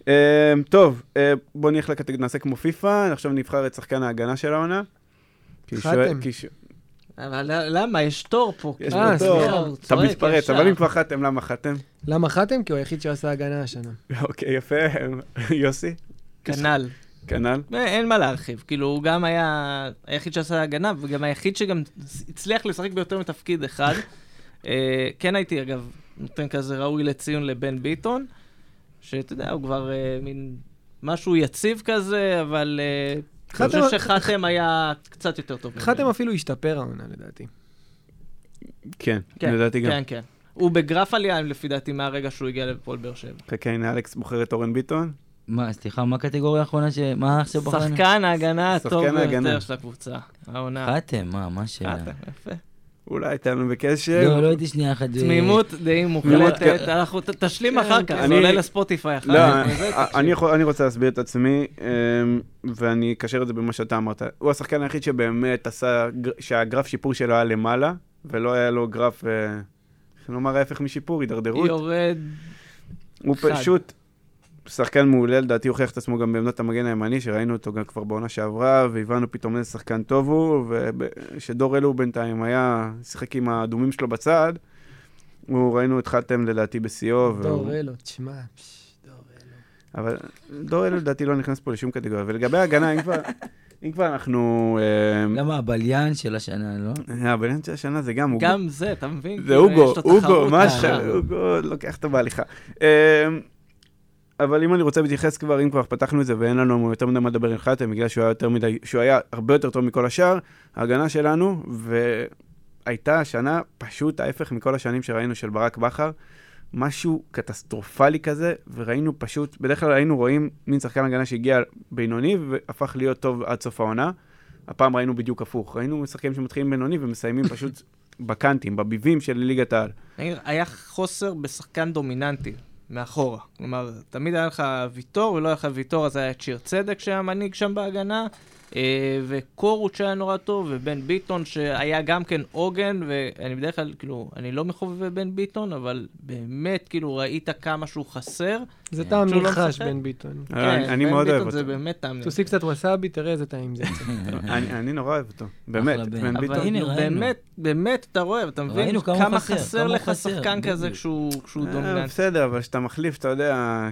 אה, טוב, אה, בוא נלך לקטגוריה, נעשה כמו פיפא, עכשיו נבחר את שחקן ההגנה של העונה. כי חתם. שוער- כי ש- אבל למה? יש תור פה. יש כאילו, פה תור. סליחה, הוא אתה צועק מתפרץ, ישר. אבל אם כבר חתם, למה חתם? למה חתם? כי הוא היחיד שעשה הגנה השנה. אוקיי, יפה, יוסי, כנ"ל. כנ"ל. אין מה להרחיב. כאילו, הוא גם היה היחיד שעשה הגנה, וגם היחיד שגם הצליח לשחק ביותר מתפקיד אחד. אה, כן הייתי, אגב, נותן כזה ראוי לציון לבן ביטון, שאתה יודע, הוא כבר אה, מין משהו יציב כזה, אבל אה, אני חתם- חושב שחתם היה קצת יותר טוב. ממנו. חתם אפילו השתפר העונה לדעתי. כן, כן, לדעתי גם. כן, כן. הוא בגרף עלייה, לפי דעתי, מהרגע שהוא הגיע לפועל באר שבע. חכה, הנה אלכס בוחר את אורן ביטון. מה, סליחה, מה הקטגוריה האחרונה ש... מה עכשיו בחרנו? שחקן ההגנה הטוב שחקן ההגנה. ביותר של הקבוצה. העונה. חתם, מה, מה השאלה? חתם, יפה. אולי איתנו בקשר. לא, לא הייתי שנייה אחת. אה, תמימות דעים מוחלטת, כן. אנחנו ת- תשלים כן, אחר כן. כך, זה אני- עולה לספוטיפיי אחר לא, כך. וזה, אה, תקשיב. אני יכול- אני רוצה להסביר את עצמי, אמ, ואני אקשר את זה במה שאתה אמרת. הוא השחקן היחיד שבאמת עשה, גר- שהגרף שיפור שלו היה למעלה, ולא היה לו גרף, אה, איך נאמר ההפך משיפור, הידרדרות. יורד, הוא חד. פשוט שחקן מעולה, לדעתי הוכיח את עצמו גם בעמדת המגן הימני, שראינו אותו גם כבר בעונה שעברה, והבנו פתאום איזה שחקן טוב הוא, ושדור אלו בינתיים היה, שיחק עם האדומים שלו בצד. הוא, ראינו את חתם לדעתי בשיאו. והוא- דורלו, תשמע, פש, דורלו. אבל דורל לדעתי לא נכנס פה לשום קטגוריה. ולגבי ההגנה, אם כבר, אם כבר אנחנו... אה, למה, הבליין של השנה, לא? הבניין של השנה זה גם... הוא- גם זה, אתה מבין? זה כאילו, הוגו, יש לו הוגו, תחרות, מה אה, ש... הוגו לוקח אותו בהליכה. אה, אבל אם אני רוצה להתייחס כבר, אם כבר פתחנו את זה ואין לנו יותר מדי מה לדבר עם חתם, בגלל שהוא היה יותר מדי, שהוא היה הרבה יותר טוב מכל השאר, ההגנה שלנו, והייתה השנה פשוט ההפך מכל השנים שראינו של ברק בכר. משהו קטסטרופלי כזה, וראינו פשוט, בדרך כלל היינו רואים מין שחקן הגנה שהגיע בינוני והפך להיות טוב עד סוף העונה. הפעם ראינו בדיוק הפוך, ראינו שחקנים שמתחילים בינוני ומסיימים פשוט בקאנטים, בביבים של ליגת העל. נגיד, היה חוסר בשחקן דומיננטי, מאחורה. כלומר, תמיד היה לך ויטור, ולא היה לך ויטור, אז היה את שיר צדק שהיה מנהיג שם בהגנה, אה, וקורוץ' שהיה נורא טוב, ובן ביטון שהיה גם כן עוגן, ואני בדרך כלל, כאילו, אני לא מחובב בן ביטון, אבל באמת, כאילו, ראית כמה שהוא חסר. זה טעם שהוא לא נרכש, משחק? בן ביטון. אני- אה, אני אה, בן מאוד אוהב ביטון זה אותו. באמת טעם. תוסיף קצת ווסאבי, תראה איזה טעים זה. אני אני נורא אוהב אותו, באמת, אה. בן. בן אבל ביטון. הנה, כאילו, ראינו. באמת, באמת, אתה רואה, אתה מבין ראינו כמה כמה חסר, חסר כמה לך חסר, שחקן כזה בדיוק. כשהוא כשהוא אה, דומיננטי. בסדר, אבל כשאתה מחליף, אתה יודע,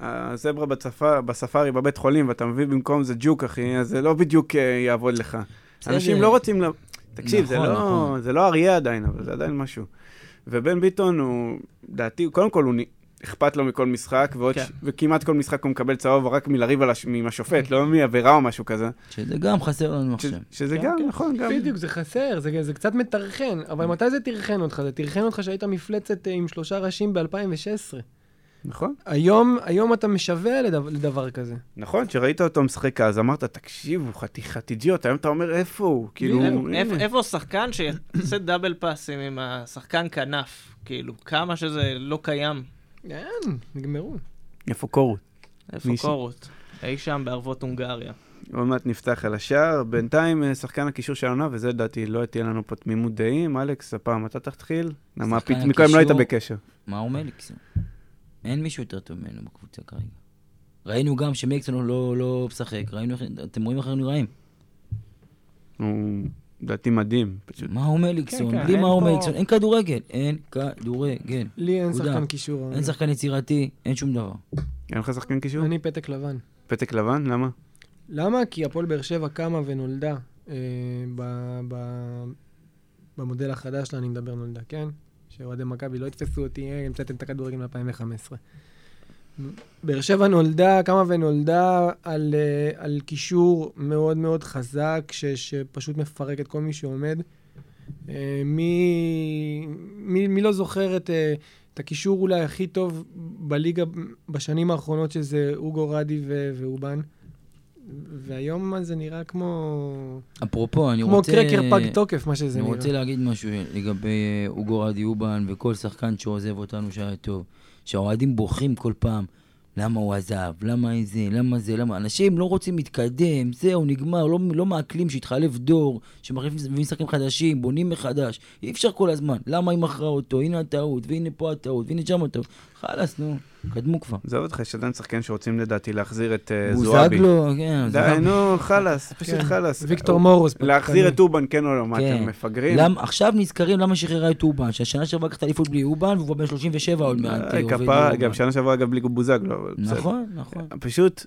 שהזברה בצפה- בספארי בבית חולים, ואתה מביא במקום זה ג'וק, אחי, אז זה לא בדיוק אה, יעבוד לך. בסדר. אנשים לא רוצים... ל- תקשיב, זה נכון, לא- נכון. זה לא אריה עדיין, אבל זה עדיין משהו. ובן ביטון הוא, דעתי, קודם כל הוא נ- אכפת לו מכל משחק, ועוד כן. ש- וכמעט כל משחק הוא מקבל צהוב רק מלריב על הש- עם השופט, כן. לא מעבירה או משהו כזה. שזה גם חסר לנו ש- עכשיו. שזה כן, גם, כן. נכון, גם. בדיוק, זה חסר, זה זה קצת מטרחן, אבל מתי זה טרחן אותך? זה טרחן אותך שהיית מפלצת אה, עם שלושה ראשים ב-2016. נכון. היום, היום אתה משווע לדבר, לדבר כזה. נכון, כשראית אותו משחק אז אמרת, תקשיב, הוא חתיכת אידיוט, היום אתה אומר, איפה הוא? כאילו, בדיוק. הנה. איפ- איפה שחקן שיעשה דאבל פאסים עם השחקן כנף? כאילו, כמה שזה לא קיים. אין, נגמרו. איפה קורות? איפה מישהו. קורות? אי שם בערבות הונגריה. עוד מעט נפתח על השער. בינתיים, אה, שחקן הקישור של העונה, וזה לדעתי, לא תהיה לנו פה תמימות דעים. אלכס, הפעם אתה תתחיל. למה שחקן פתאום, מקודם לא היית הקישור- בקשר. מאור מליקסון. אין מישהו יותר טוב ממנו בקבוצה כרגע. ראינו גם שמליקסון לא- לא לא משחק, ראינו איך... אתם רואים איך הם נראים. הוא לדעתי מדהים, פשוט. מאור מליקסון, כן, כן, בלי אין מאור פה- מליקסון, אין כדורגל. אין כדורגל. לי אין תודה. שחקן קישור. העונה. אין שחקן יצירתי, אין שום דבר. אין לך שחקן קישור? אני פתק לבן. פתק לבן? למה? למה? כי הפועל באר שבע קמה ונולדה אה, ב, ב, במודל החדש שלה, אני מדבר נולדה, כן? שאוהדי מכבי לא יתפסו אותי, אה, המצאתם את הכדורגל מ-2015. באר שבע נולדה, קמה ונולדה על, אה, על קישור מאוד מאוד חזק, ש, שפשוט מפרק את כל מי שעומד. אה, מי, מי, מי לא זוכר את, אה, את הקישור אולי הכי טוב בליגה בשנים האחרונות, שזה אוגו רדי ו- ואובן? והיום זה נראה כמו... אפרופו, אני כמו רוצה... קרקר פג תוקף, מה שזה אני נראה. רוצה להגיד משהו לגבי אה, אוגו רדי אובן וכל שחקן שעוזב אותנו שהיה טוב. שהאוהדים בוכים כל פעם, למה הוא עזב, למה אין זה, למה זה, למה... אנשים לא רוצים להתקדם, זהו, נגמר, לא, לא מעכלים שהתחלף דור, שמחליפים מביאים שחקנים חדשים, בונים מחדש. אי אפשר כל הזמן, למה היא מכרה אותו, הנה הטעות, והנה פה הטעות, והנה שם הטעות. חלאס, נו, קדמו כבר. עזוב אותך, יש עדיין שחקנים שרוצים לדעתי להחזיר את אה, זועבי. בוזגלו, כן, די, זועבי. נו, חלאס, פשוט כן. חלאס. ויקטור מורוס. להחזיר את אובן, כן או לא? מה, כן. אתם מפגרים? למ- עכשיו נזכרים למה שחררה את אובן, שהשנה שעברה לקחת אליפות בלי אובן, והוא כבר בן 37 עוד מעט. אה, כאילו, אה, עובד כפרה, עם גם אובן. שנה שעברה, אגב, בלי בוזגלו, אבל בסדר. נכון, נכון. פשוט,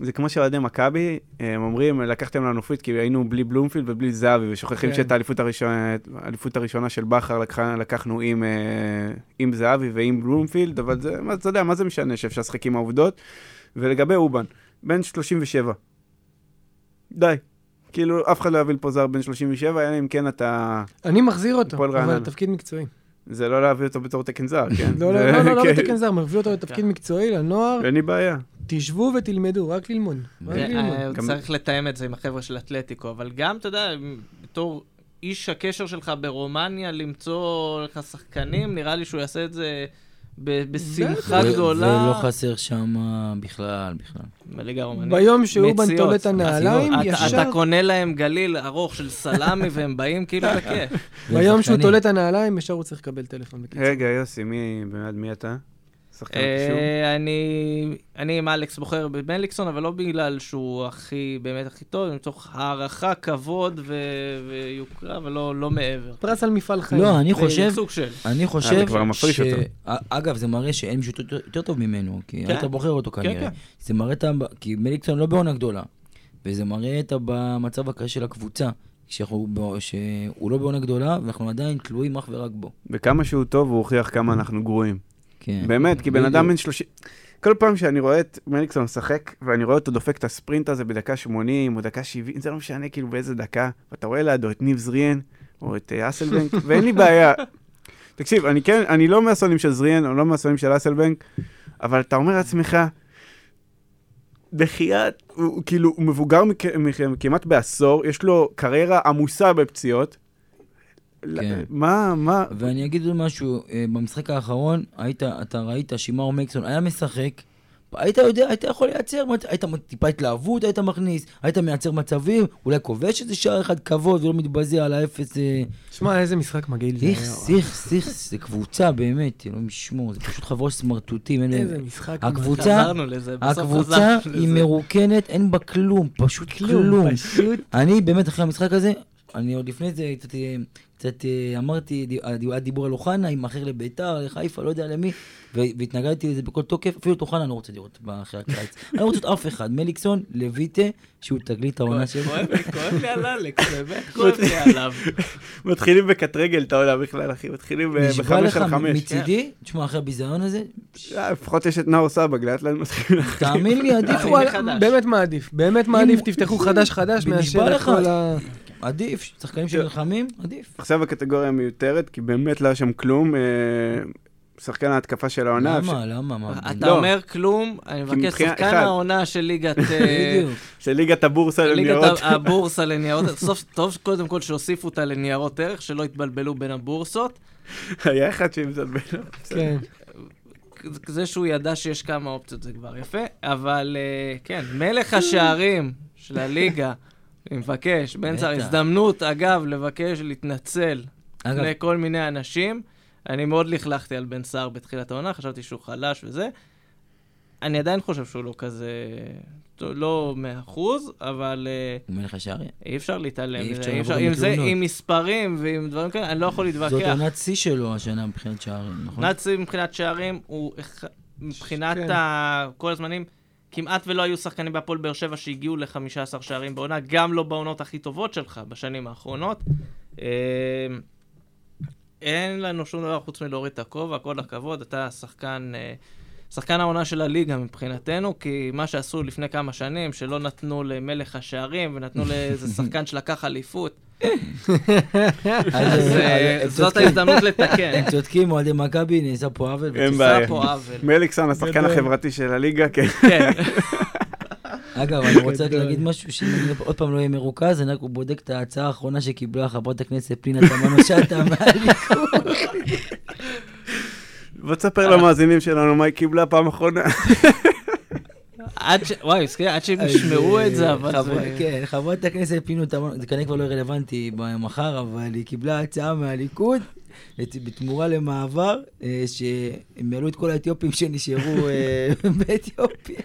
זה כמו שאוהדי מכבי, הם אומרים, לקחתם לנו אליפות כי היינו בלי בלומפילד ובלי זהבי, ושוכחים כן. שאת האליפות הראשונה, האליפות הראשונה של בכר לקחה- לקחנו עם, אה, עם זהבי ועם בלומפילד, אבל זה, מה, אתה יודע, מה זה משנה שאפשר לשחק עם העובדות? ולגבי אובן, בן 37. די. כאילו, אף אחד לא יביא לפה זר בן 37, אלא אם כן אתה... אני מחזיר אותו, הפועל רעננה. אבל לתפקיד מקצועי. זה לא להביא אותו בתור תקן זר, כן? לא, לא, זה- לא, לא, לא כן. לתקן זר, מביא אותו לתפקיד כן. מקצועי, לנוער. אין לי בעיה. תשבו ותלמדו, רק ללמוד. רק כן, ללמוד. אה, לא גם- צריך לתאם את זה עם החבר'ה של אתלטיקו, אבל גם, אתה יודע, בתור איש הקשר שלך ברומניה, למצוא לך שחקנים, נראה לי שהוא יעשה את זה ב- בשמחה ו- לא גדולה. ולא חסר שם אה, בכלל, בכלל. בליגה הרומנית. ביום שאובן מציאות. תולה את הנעליים, אתה- ישר, אתה קונה להם גליל ארוך של סלאמי והם באים כאילו בכיף. ביום שהוא ושחקנים. תולה את הנעליים, ישר הוא צריך לקבל טלפון בקיצור. אה. רגע, יוסי, מי, בעד מי אתה? שחקן הקישור? אה, אני- אני עם אלכס בוחר במליקסון, אבל לא בגלל שהוא הכי, באמת הכי טוב, מתוך הערכה, כבוד ו- ויוקרה, אבל לא לא מעבר. פרס על מפעל חיים. לא, אני זה חושב, סוג של. אני אה, זה חושב כבר מפריש ש... אותו. א- אגב, זה מראה שאין מישהו יותר- יותר טוב ממנו, כי כן. היית בוחר אותו כנראה. כן. זה מראה את ה... כי מליקסון לא בעונה גדולה, וזה מראה את ה- במצב הקשה של הקבוצה, שאנחנו ב- שהוא לא בעונה גדולה, ואנחנו עדיין תלויים אך ורק בו. וכמה שהוא טוב, הוא הוכיח כמה אנחנו גרועים. כן. באמת, כי בן בדיוק. אדם בן 30... כל פעם שאני רואה את מליקסון משחק, ואני רואה אותו דופק את הספרינט הזה בדקה 80 או דקה 70, זה לא משנה כאילו באיזה דקה, ואתה רואה לידו את ניב זריאן, או את אה, אסלבנק, ואין לי בעיה. תקשיב, אני כן, אני לא מהשונאים של זריאן, או לא מהשונאים של אסלבנק, אבל אתה אומר לעצמך, בחייאת, הוא, הוא כאילו, הוא מבוגר מכ- מכם כמעט בעשור, יש לו קריירה עמוסה בפציעות. כן. מה, מה, ואני אגיד עוד משהו, אה, במשחק האחרון, היית, אתה ראית שמאור מקסון היה משחק, היית יודע, היית יכול לייצר, מצ- היית מ- טיפה התלהבות, היית מכניס, היית מייצר מצבים, אולי כובש איזה שער אחד כבוד ולא מתבזה על האפס. אה, שמע, איזה משחק מגעיל זה היה. איכס, איכס, איכס, זה קבוצה באמת, אלוהים ישמור, זה פשוט חבורה של סמרטוטים. אין להם- איזה משחק הקבוצה- חזרנו לזה, בסוף הקבוצה חזרנו היא לזה. מרוקנת, אין בה כלום, פשוט כלום. כלום, פשוט. אני באמת אחרי המשחק הזה, אני עוד לפני זה קצת, אה, קצת אה, אמרתי, די- אה, היה דיבור על אוחנה, עם אחר לביתר, לחיפה, לא יודע למי, ו- והתנגדתי לזה בכל תוקף, אפילו את אוחנה אני לא רוצה לראות אחרי הקיץ. אני לא רוצה לראות אף אחד, מליקסון, לויטה, שהוא תגלית העונה שלו. כואב לי, כואב לי על אלכס, באמת כואב לי עליו. מתחילים בקט רגל את העולם בכלל, אחי, מתחילים ב- נשבע בחמש לך על חמש. מצידי, תשמע, אחרי הביזיון הזה, אה, לפחות יש את נאור סבג, לאט לאט מתחילים. להכניס. תאמין לי, עדיף, אחי, וואלה, מחדש. באמת מעדיף, באמת מעדיף, תפתחו חדש חדש נשבע מאשר את לך. כל ה... עדיף, שחקנים שנלחמים, עדיף. עכשיו הקטגוריה מיותרת, כי באמת לא היה שם כלום. אה, שחקן ההתקפה של העונה. למה, למה, מה? אתה לא. אומר כלום, אני מבקש מבחינה- שחקן אחד. העונה של ליגת... אה, בדיוק. ש- של ליגת הבורסה לניירות. ליגת ה- הבורסה לניירות ערך, סוף טוב קודם כל שהוסיפו אותה לניירות ערך, שלא יתבלבלו בין הבורסות. היה אחד שעם זאת בין... כן. זה שהוא ידע שיש כמה אופציות זה כבר יפה, אבל אה, כן, מלך השערים של הליגה, אני מבקש, באמצע בטח. ההזדמנות, אגב, לבקש להתנצל אגב, לפני כל מיני אנשים. אני מאוד לכלכתי על בן סער בתחילת העונה, חשבתי שהוא חלש וזה. אני עדיין חושב שהוא לא כזה, לא מאה אחוז, אבל... אה, מלך השערים. אי אפשר להתעלם אי מזה, אפשר אי אפשר, לבוא גם עם זה, בתלונות. עם מספרים ועם דברים כאלה, אני לא יכול זאת להתווכח. עונת שיא שלו השנה מבחינת שערים, נכון? נאצי מבחינת שערים, הוא אח- מבחינת כן. ה- כל הזמנים, כמעט ולא היו שחקנים בהפועל באר שבע שהגיעו ל-15 שערים בעונה, גם לא בעונות הכי טובות שלך בשנים האחרונות. אה, אין לנו שום דבר חוץ מלהוריד את הכובע, כל הכבוד, אתה השחקן... אה, שחקן העונה של הליגה מבחינתנו, כי מה שעשו לפני כמה שנים, שלא נתנו למלך השערים ונתנו לאיזה שחקן שלקח אליפות, אז, אז אה, אה, הם זאת אוקיי. צודקים. ההזדמנות לתקן. הם צודקים, אוהדי מכבי, נעשה פה עוול. אין וצריך- בעיה. עשה פה עוול. מליקסון, השחקן החברתי של הליגה, כן. כן, אגב, אני רוצה רק להגיד משהו, שאם אני עוד פעם לא אהיה מרוכז, אני רק בודק את ההצעה האחרונה שקיבלה חברת הכנסת פנינה תמנו שטה מהליכוד. בוא תספר למאזינים שלנו מה היא קיבלה פעם אחרונה. עד ש... וואי, סליחה, עד שהם ישמעו את אה, זה, אבל חברת- זה... כן, חברת הכנסת פנינה תמנו, זה כנראה כבר לא רלוונטי מחר, אבל היא קיבלה הצעה מהליכוד את- בתמורה למעבר, אה, שהם יעלו את כל האתיופים שנשארו אה, באתיופיה.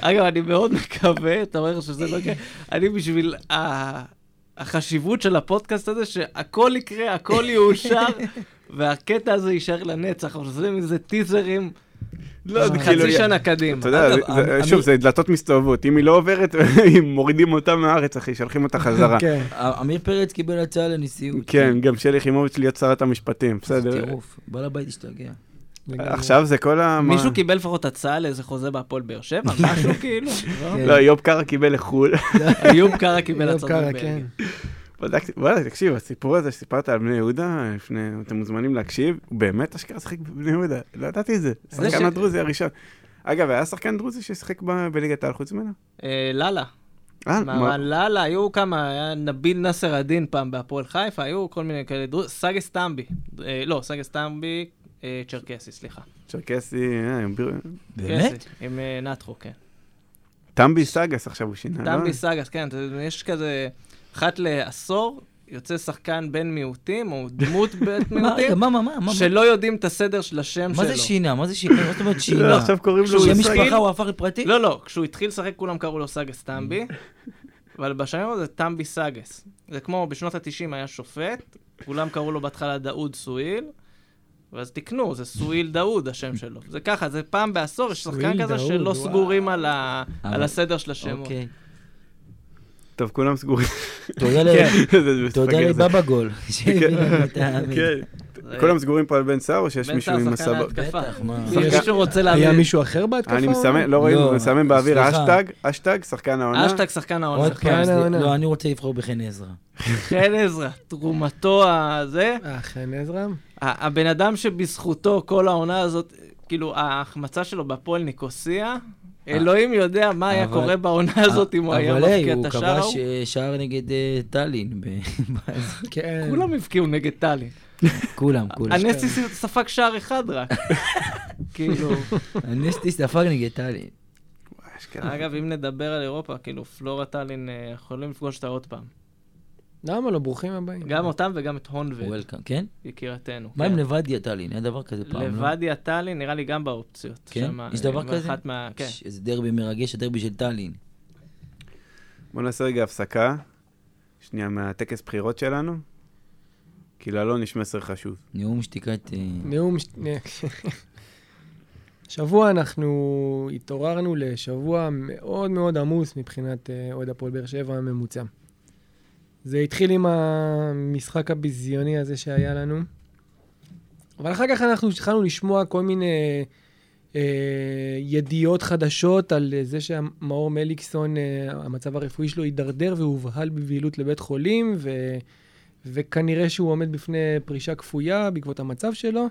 אגב, אני מאוד מקווה, אתה אומר שזה לא יקרה, אני בשביל ה- החשיבות של הפודקאסט הזה, שהכל יקרה, הכל יאושר, והקטע הזה יישאר לנצח, אבל עושים מזה טיזרים לא, זה כאילו... חצי שנה קדימה. אתה יודע, אגב, זה- לא אני- שוב, זה דלתות מסתובבות. אם היא לא עוברת, אם מורידים אותה מהארץ, אחי, שולחים אותה חזרה. כן. עמיר פרץ קיבל הצעה לנשיאות. כן, גם שלי יחימוביץ' להיות שרת המשפטים, בסדר. בסדר. טירוף, בעל הבית השתגע. לגמרי. עכשיו זה כל ה... מה- מישהו קיבל לפחות הצעה לאיזה חוזה בהפועל באר שבע, משהו כאילו, לא? כן. לא, איוב קרא קיבל לחו"ל. איוב קרא קיבל איוב הצעות קרא, מבלגיה. כן. בדקתי, וואלה, תקשיב, הסיפור הזה שסיפרת על בני יהודה, לפני, אתם מוזמנים להקשיב, הוא באמת אשכרה שיחק בבני יהודה, לא ידעתי את זה. זה ש- שחקן הדרוזי הראשון. אגב, היה שחקן דרוזי ששיחק ב- בליגת העל חוץ ממנו? אה, לאללה. אה, מה- מרן לאללה, היו כמה, היה נביל נאסר א-דין פעם בהפועל חיפה, היו כל מיני כאלה, דרוז- סגס טמבי, אה, לא, סגס טמבי, אה, צ'רקסי, סליחה. צ'רקסי, אה, ביר- באמת? קסי, עם אה, נטחו, כן. טמבי סגס עכשיו הוא שינה, לא? טמבי סגס, כן, זה- יש כזה, אחת לעשור, יוצא שחקן בן מיעוטים, או דמות בית מה, רגע, מיעוטים, מה, מה, מה, מה? לא, שלא יודעים את הסדר של השם מה שלו. זה שינה? מה זה שינה? מה זאת אומרת שינה? לא, עכשיו קוראים לו... שם סגס. משפחה הוא הפך לפרטי? לא, לא, כשהוא התחיל לשחק כולם קראו לו סגס טמבי, אבל בשנים האלה זה טמבי סגס. זה כמו בשנות ה-90 היה שופט, כולם קראו לו בהתחלה דאוד סואיל, ואז תיקנו, זה סואיל דאוד השם שלו. זה ככה, זה פעם בעשור, יש שחקן סואיל כזה דאוד, שלא וואו. סגורים על ה- אבל- על הסדר של השמות. אוקיי. טוב, כולם סגורים. כן. כן, תודה ל- זה- זה תודה מפגר, זה- לבבא גול. שהביא לנו את ה- כן, כולם סגורים פה על בן סער, או שיש בן מישהו סער עם שחקן הסבא? ההתקפה. בטח, מה. אם יש- מישהו רוצה היה להבין, מישהו אחר בהתקפה? אני מסמן, לא ראינו, לא, מסמן באוויר סליחה. אשטג, אשטג, שחקן העונה. אשטג שחקן העונה. עוד פעם, לא, לא. לא, אני רוצה לבחור בחן עזרא. חן עזרא, תרומתו הזה, אה, חן עזרא? ה- הבן אדם שבזכותו כל העונה הזאת, כאילו ההחמצה שלו בהפועל ניקוסיה, אלוהים יודע מה היה אה. אבל- אה, קורה בעונה הזאת אם הוא היה אבל היי, מבקיע הוא את השער כבש ההוא. אה, שער נגד אה, טאלין. ב- ב- כן. כולם הבקיעו נגד טלי. כולם, כולם. הנסי ספג שער אחד רק. כאילו, הנסטי ספג נגד טאלין. אשכרה. אגב, אם נדבר על אירופה, כאילו, פלורה טאלין, אה, יכולים לפגוש אותה עוד פעם. למה לא? ברוכים הבאים. גם אותם וגם את הונבד, וולקאם, כן? יקירתנו. מה כן. עם לבדיה טאלין? היה דבר כזה פעם, לא? לבדיה טאלין, נראה לי גם באופציות. כן? שמה, יש דבר אה, כזה? אחת מה... כן. ש- איזה דרבי מרגש, הדרבי של טאלין. בוא נעשה רגע הפסקה, שנייה מהטקס בחירות שלנו, כי לאלון יש מסר חשוב. נאום שתיקת... אה, נאום... ש- השבוע אנחנו התעוררנו לשבוע מאוד מאוד עמוס מבחינת אה, אוהד הפועל באר שבע הממוצע. זה התחיל עם המשחק הביזיוני הזה שהיה לנו, אבל אחר כך אנחנו התחלנו לשמוע כל מיני אה, ידיעות חדשות על אה, זה שמאור מליקסון, אה, המצב הרפואי שלו הידרדר והובהל בבהילות לבית חולים, ו... וכנראה שהוא עומד בפני פרישה כפויה בעקבות המצב שלו.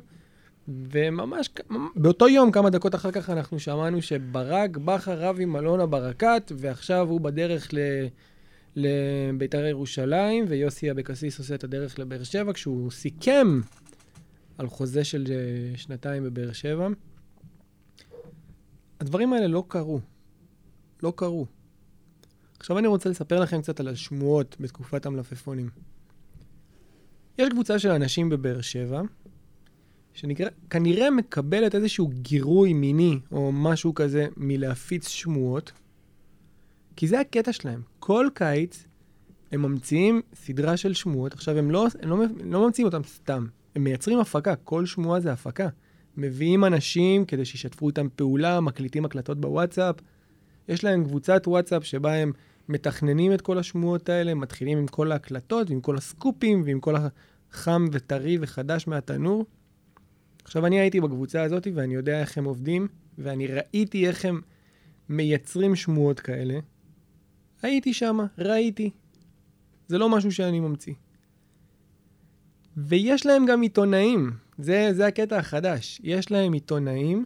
וממש כ- ממ- באותו יום, כמה דקות אחר כך, אנחנו שמענו שברק בכר רב עם אלונה ברקת, ועכשיו הוא בדרך ל... לביתר ירושלים, ויוסי אבקסיס עושה את הדרך לבאר שבע, כשהוא סיכם על חוזה של אה, שנתיים בבאר שבע. הדברים האלה לא קרו. לא קרו. עכשיו אני רוצה לספר לכם קצת על השמועות בתקופת המלפפונים. יש קבוצה של אנשים בבאר שבע, שכנראה מקבלת איזשהו גירוי מיני או משהו כזה מלהפיץ שמועות, כי זה הקטע שלהם. כל קיץ הם ממציאים סדרה של שמועות. עכשיו, הם לא, הם לא, לא ממציאים אותם סתם, הם מייצרים הפקה, כל שמועה זה הפקה. מביאים אנשים כדי שישתפו איתם פעולה, מקליטים הקלטות בוואטסאפ. יש להם קבוצת וואטסאפ שבה הם מתכננים את כל השמועות האלה, מתחילים עם כל ההקלטות ועם כל הסקופים ועם כל החם וטרי וחדש מהתנור. עכשיו, אני הייתי בקבוצה הזאת ואני יודע איך הם עובדים, ואני ראיתי איך הם מייצרים שמועות כאלה. הייתי שמה, ראיתי. זה לא משהו שאני ממציא. ויש להם גם עיתונאים, זה, זה הקטע החדש. יש להם עיתונאים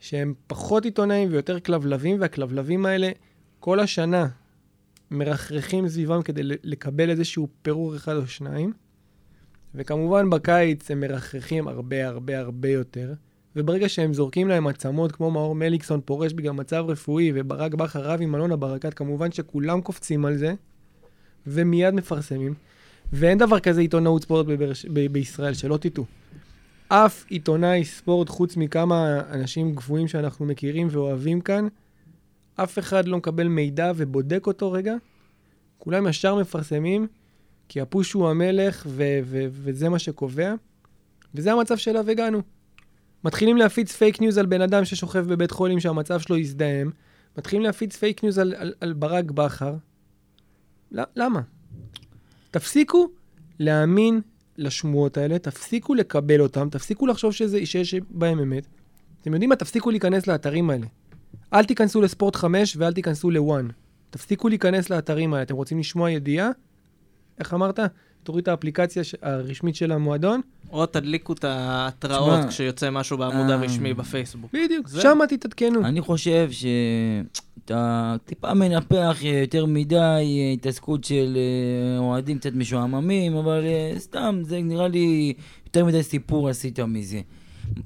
שהם פחות עיתונאים ויותר כלבלבים, והכלבלבים האלה כל השנה מרחרחים סביבם כדי ל- לקבל איזשהו פירור אחד או שניים. וכמובן בקיץ הם מרחרחים הרבה הרבה הרבה יותר, וברגע שהם זורקים להם עצמות כמו מאור מליקסון פורש בגלל מצב רפואי, וברק בכר רב עם אלונה ברקת, כמובן שכולם קופצים על זה, ומיד מפרסמים. ואין דבר כזה עיתונאות ספורט בבאר ש- ב- בישראל, שלא תטעו. אף עיתונאי ספורט, חוץ מכמה אנשים גבוהים שאנחנו מכירים ואוהבים כאן, אף אחד לא מקבל מידע ובודק אותו רגע. כולם ישר מפרסמים, כי הפוש הוא המלך, ו- ו- וזה מה שקובע. וזה המצב שאליו הגענו. מתחילים להפיץ פייק ניוז על בן אדם ששוכב בבית חולים שהמצב שלו הזדהם. מתחילים להפיץ פייק ניוז על, על, על ברק בכר. ל- למה? תפסיקו להאמין לשמועות האלה, תפסיקו לקבל אותן, תפסיקו לחשוב שזה, שיש בהם אמת. אתם יודעים מה? תפסיקו להיכנס לאתרים האלה. אל תיכנסו לספורט 5 ואל תיכנסו ל-1. תפסיקו להיכנס לאתרים האלה. אתם רוצים לשמוע ידיעה? איך אמרת? תוריד את האפליקציה ש- הרשמית של המועדון. או תדליקו את ההתראות תשמע, כשיוצא משהו בעמוד אה, הרשמי בפייסבוק. בדיוק, זה- שמה תתעדכנו. אני חושב שאתה טיפה מנפח אה, יותר מדי אה, התעסקות של אה, אוהדים קצת משועממים, אבל אה, סתם, זה נראה לי יותר מדי סיפור עשית מזה.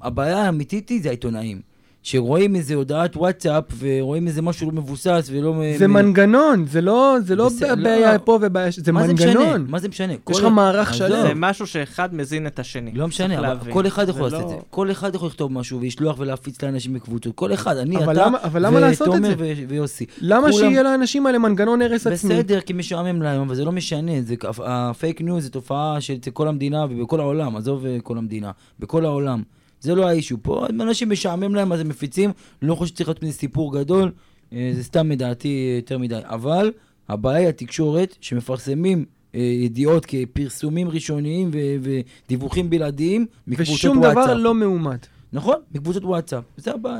הבעיה האמיתית היא זה העיתונאים. שרואים איזה הודעת וואטסאפ ורואים איזה משהו לא מבוסס ולא... מ- זה מ- מנגנון, זה לא, זה לא בסדר, בעיה לא. פה ובעיה ש... זה מה משנה? מנגנון. מה זה משנה? יש כל- לך מערך עזוב. שלם. זה משהו שאחד מזין את השני. לא משנה, צריך אבל להבין. כל אחד יכול זה לעשות את לא- זה. כל אחד יכול לכתוב משהו ולשלוח ולהפיץ לאנשים בקבוצות. כל אחד, אני, אבל אתה, למה- אבל למה לעשות את זה? ו- ויוסי. למה כולם- שיהיה לאנשים האלה מנגנון הרס עצמי? בסדר, כי משעמם להם, אבל זה לא משנה. זה, כ- הפייק ניוז זה תופעה של אצל כל המדינה ובכל העולם, עזוב אה, כל המדינה, בכל העולם. זה לא האישו פה, אם אנשים משעמם להם אז הם מפיצים, לא חושב שצריך להיות מזה סיפור גדול, אה, זה סתם לדעתי אה, יותר מדי. אבל הבעיה היא התקשורת, שמפרסמים אה, ידיעות כפרסומים ראשוניים ו- ודיווחים בלעדיים מקבוצות וואטסאפ. ושום דבר לא מאומת. נכון, מקבוצות וואטסאפ. זה הבעיה.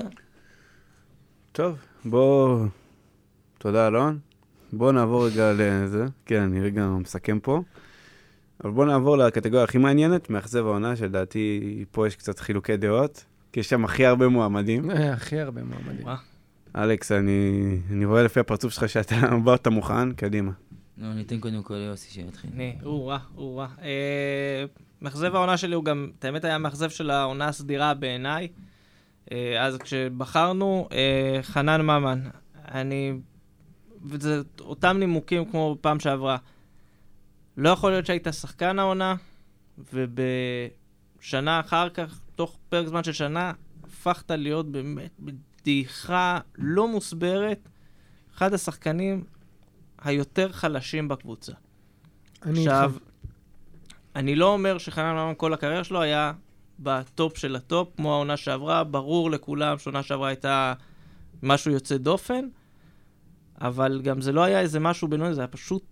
טוב, בוא... תודה, אלון. בוא נעבור רגע לזה. כן, אני רגע מסכם פה. אבל בוא נעבור לקטגוריה הכי מעניינת, מאכזב העונה, שלדעתי פה יש קצת חילוקי דעות, כי יש שם הכי הרבה מועמדים. אה, הכי הרבה מועמדים. מה? אלכס, אני, אני רואה לפי הפרצוף שלך שאתה באת מוכן, קדימה. לא, אני אתן קודם כל ליוסי שיתחיל. אני, הוא רע, הוא רע. אה, מאכזב העונה שלי הוא גם, את האמת היה מאכזב של העונה הסדירה בעיניי. אה, אז כשבחרנו, אה, חנן ממן. אני... וזה אותם נימוקים כמו פעם שעברה. לא יכול להיות שהיית שחקן העונה, ובשנה אחר כך, תוך פרק זמן של שנה, הפכת להיות באמת בדיחה לא מוסברת, אחד השחקנים היותר חלשים בקבוצה. אני עכשיו, איתך. אני לא אומר שחנן ממן כל הקריירה שלו היה בטופ של הטופ, כמו העונה שעברה, ברור לכולם שעונה שעברה הייתה משהו יוצא דופן, אבל גם זה לא היה איזה משהו בינוני, זה היה פשוט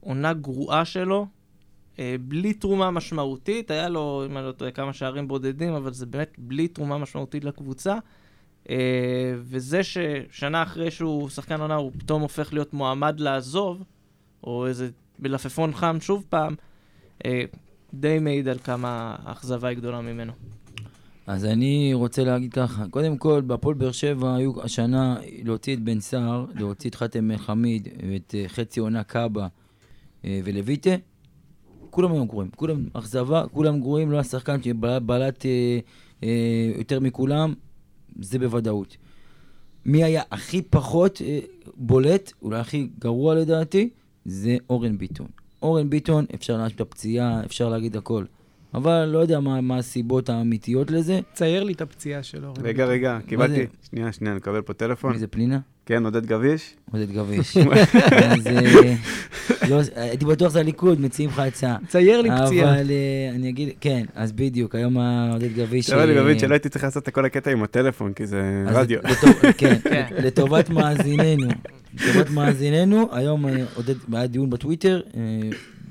עונה גרועה שלו, אה, בלי תרומה משמעותית, היה לו, אם אני לא טועה, כמה שערים בודדים, אבל זה באמת בלי תרומה משמעותית לקבוצה. אה, וזה ששנה אחרי שהוא שחקן עונה, הוא פתאום הופך להיות מועמד לעזוב, או איזה מלפפון חם שוב פעם, אה, די מעיד על כמה האכזבה היא גדולה ממנו. אז אני רוצה להגיד ככה, קודם כל, בהפועל באר שבע היו השנה להוציא את בן סער, להוציא את חתם אל חמיד, את אה, חצי עונה קאבה אה, ולויטה, כולם היו גרועים, כולם אכזבה, כולם גרועים, לא השחקן שבלט אה, אה, יותר מכולם, זה בוודאות. מי היה הכי פחות אה, בולט, אולי הכי גרוע לדעתי, זה אורן ביטון. אורן ביטון, אפשר להאשים את הפציעה, אפשר להגיד הכל. אבל לא יודע מה, מה הסיבות האמיתיות לזה. צייר לי את הפציעה של אורן. רגע, רגע, קיבלתי... זה? שנייה, שנייה, אני מקבל פה טלפון. מי זה פנינה? כן, עודד גביש? עודד גביש. אז אה, לא, הייתי בטוח שזה הליכוד, מציעים לך הצעה. צייר לי פציעה. אבל אה, אני אגיד, כן, אז בדיוק, היום עודד גביש... עכשיו אני אה, מבין שלא הייתי צריך לעשות את כל הקטע עם הטלפון, כי זה אז רדיו. לטוב- כן, כן. לטובת מאזיננו. לטובת מאזיננו, היום אה, עודד, היה דיון בטוויטר, אה,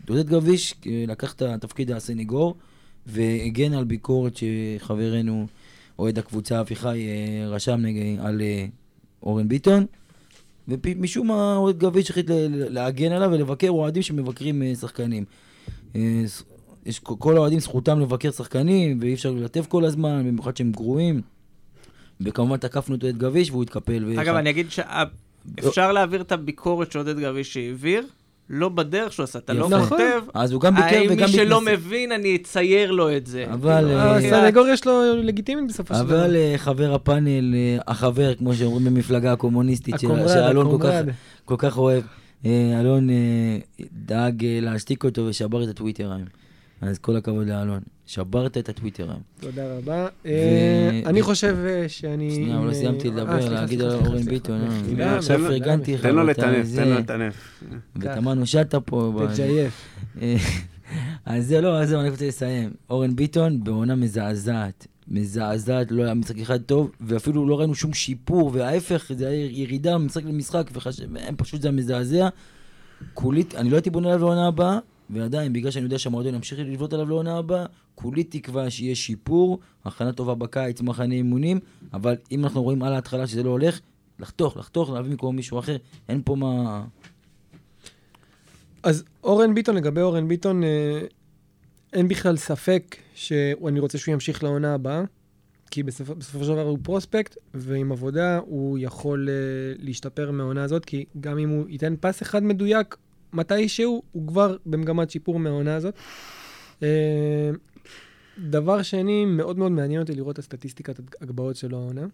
עודד גביש אה, לקח את התפקיד הסניגור והגן על ביקורת שחברנו, אוהד הקבוצה אביחי, אה, רשם נגד- על אה, אורן ביטון. ומשום מה אוהד גביש החליט ל- ל- להגן עליו ולבקר אוהדים שמבקרים אה, שחקנים. אה, ס- יש כ- כל האוהדים זכותם לבקר שחקנים, ואי אפשר ללטף כל הזמן, במיוחד שהם גרועים. וכמובן תקפנו את אוהד גביש והוא התקפל. ו- אגב, אני אגיד שאפשר להעביר את הביקורת שעודד גביש העביר, לא בדרך שהוא עשה, אתה לא יפה. נכון. כותב. אז הוא גם ביקר האם וגם מי שלא מתנשא. מבין, אני אצייר לו את זה. אבל, כאילו, אה, בחייאת. הסנגוריה שלו לגיטימית בסופו של דבר. אבל אה, חבר הפאנל, אה, החבר, כמו שאומרים במפלגה הקומוניסטית, של- הקומרד, שאלון כל כך- הקומרד. כל כך אוהב, אה, אלון אה, דאג אה, להשתיק אותו ושבר את הטוויטר היום. אז כל הכבוד לאלון, שברת את הטוויטר היום. תודה רבה. אה, אני חושב אה, שאני... שנייה, אבל לא אה, סיימתי אה, לדבר, סליחה, להגיד סליחה, על סליחה, אורן סליחה. ביטון. מחילה, אה, עכשיו מחילה, פרגנתי לך. תן לו ואתה לטנף, זה, תן לו לטנף. ותמנו שטה פה. ב- תג'ייף. אה, אז זה לא, אז זהו, אני רוצה לסיים. אורן ביטון בעונה מזעזעת. מזעזעת, לא היה משחק אחד טוב, ואפילו לא ראינו שום שיפור, וההפך, זה היה ירידה ממשחק למשחק, וחשב, אה, פשוט זה היה מזעזע. כולי, אני לא הייתי בונה עליו לעונה הבאה, ועדיין, בגלל שאני יודע שהמועדון ימשיך לבנות עליו לעונה הבאה, כולי תקווה שיהיה שיפור, הכנה טובה בקיץ, מחנה אימונים, אבל אם אנחנו רואים על ההתחלה שזה לא הולך, לחתוך, לחתוך, להביא מקום מישהו אחר, אין פה מה... אז אורן ביטון, לגבי אורן ביטון, אה, אין בכלל ספק שאני רוצה שהוא ימשיך לעונה הבאה, כי בסופ... בסופו של דבר הוא פרוספקט, ועם עבודה הוא יכול אה, להשתפר מהעונה הזאת, כי גם אם הוא ייתן פס אחד מדויק, מתי שהוא, הוא כבר במגמת שיפור מהעונה הזאת. אה, דבר שני, מאוד מאוד מעניין אותי לראות את הסטטיסטיקת הגבהות שלו העונה,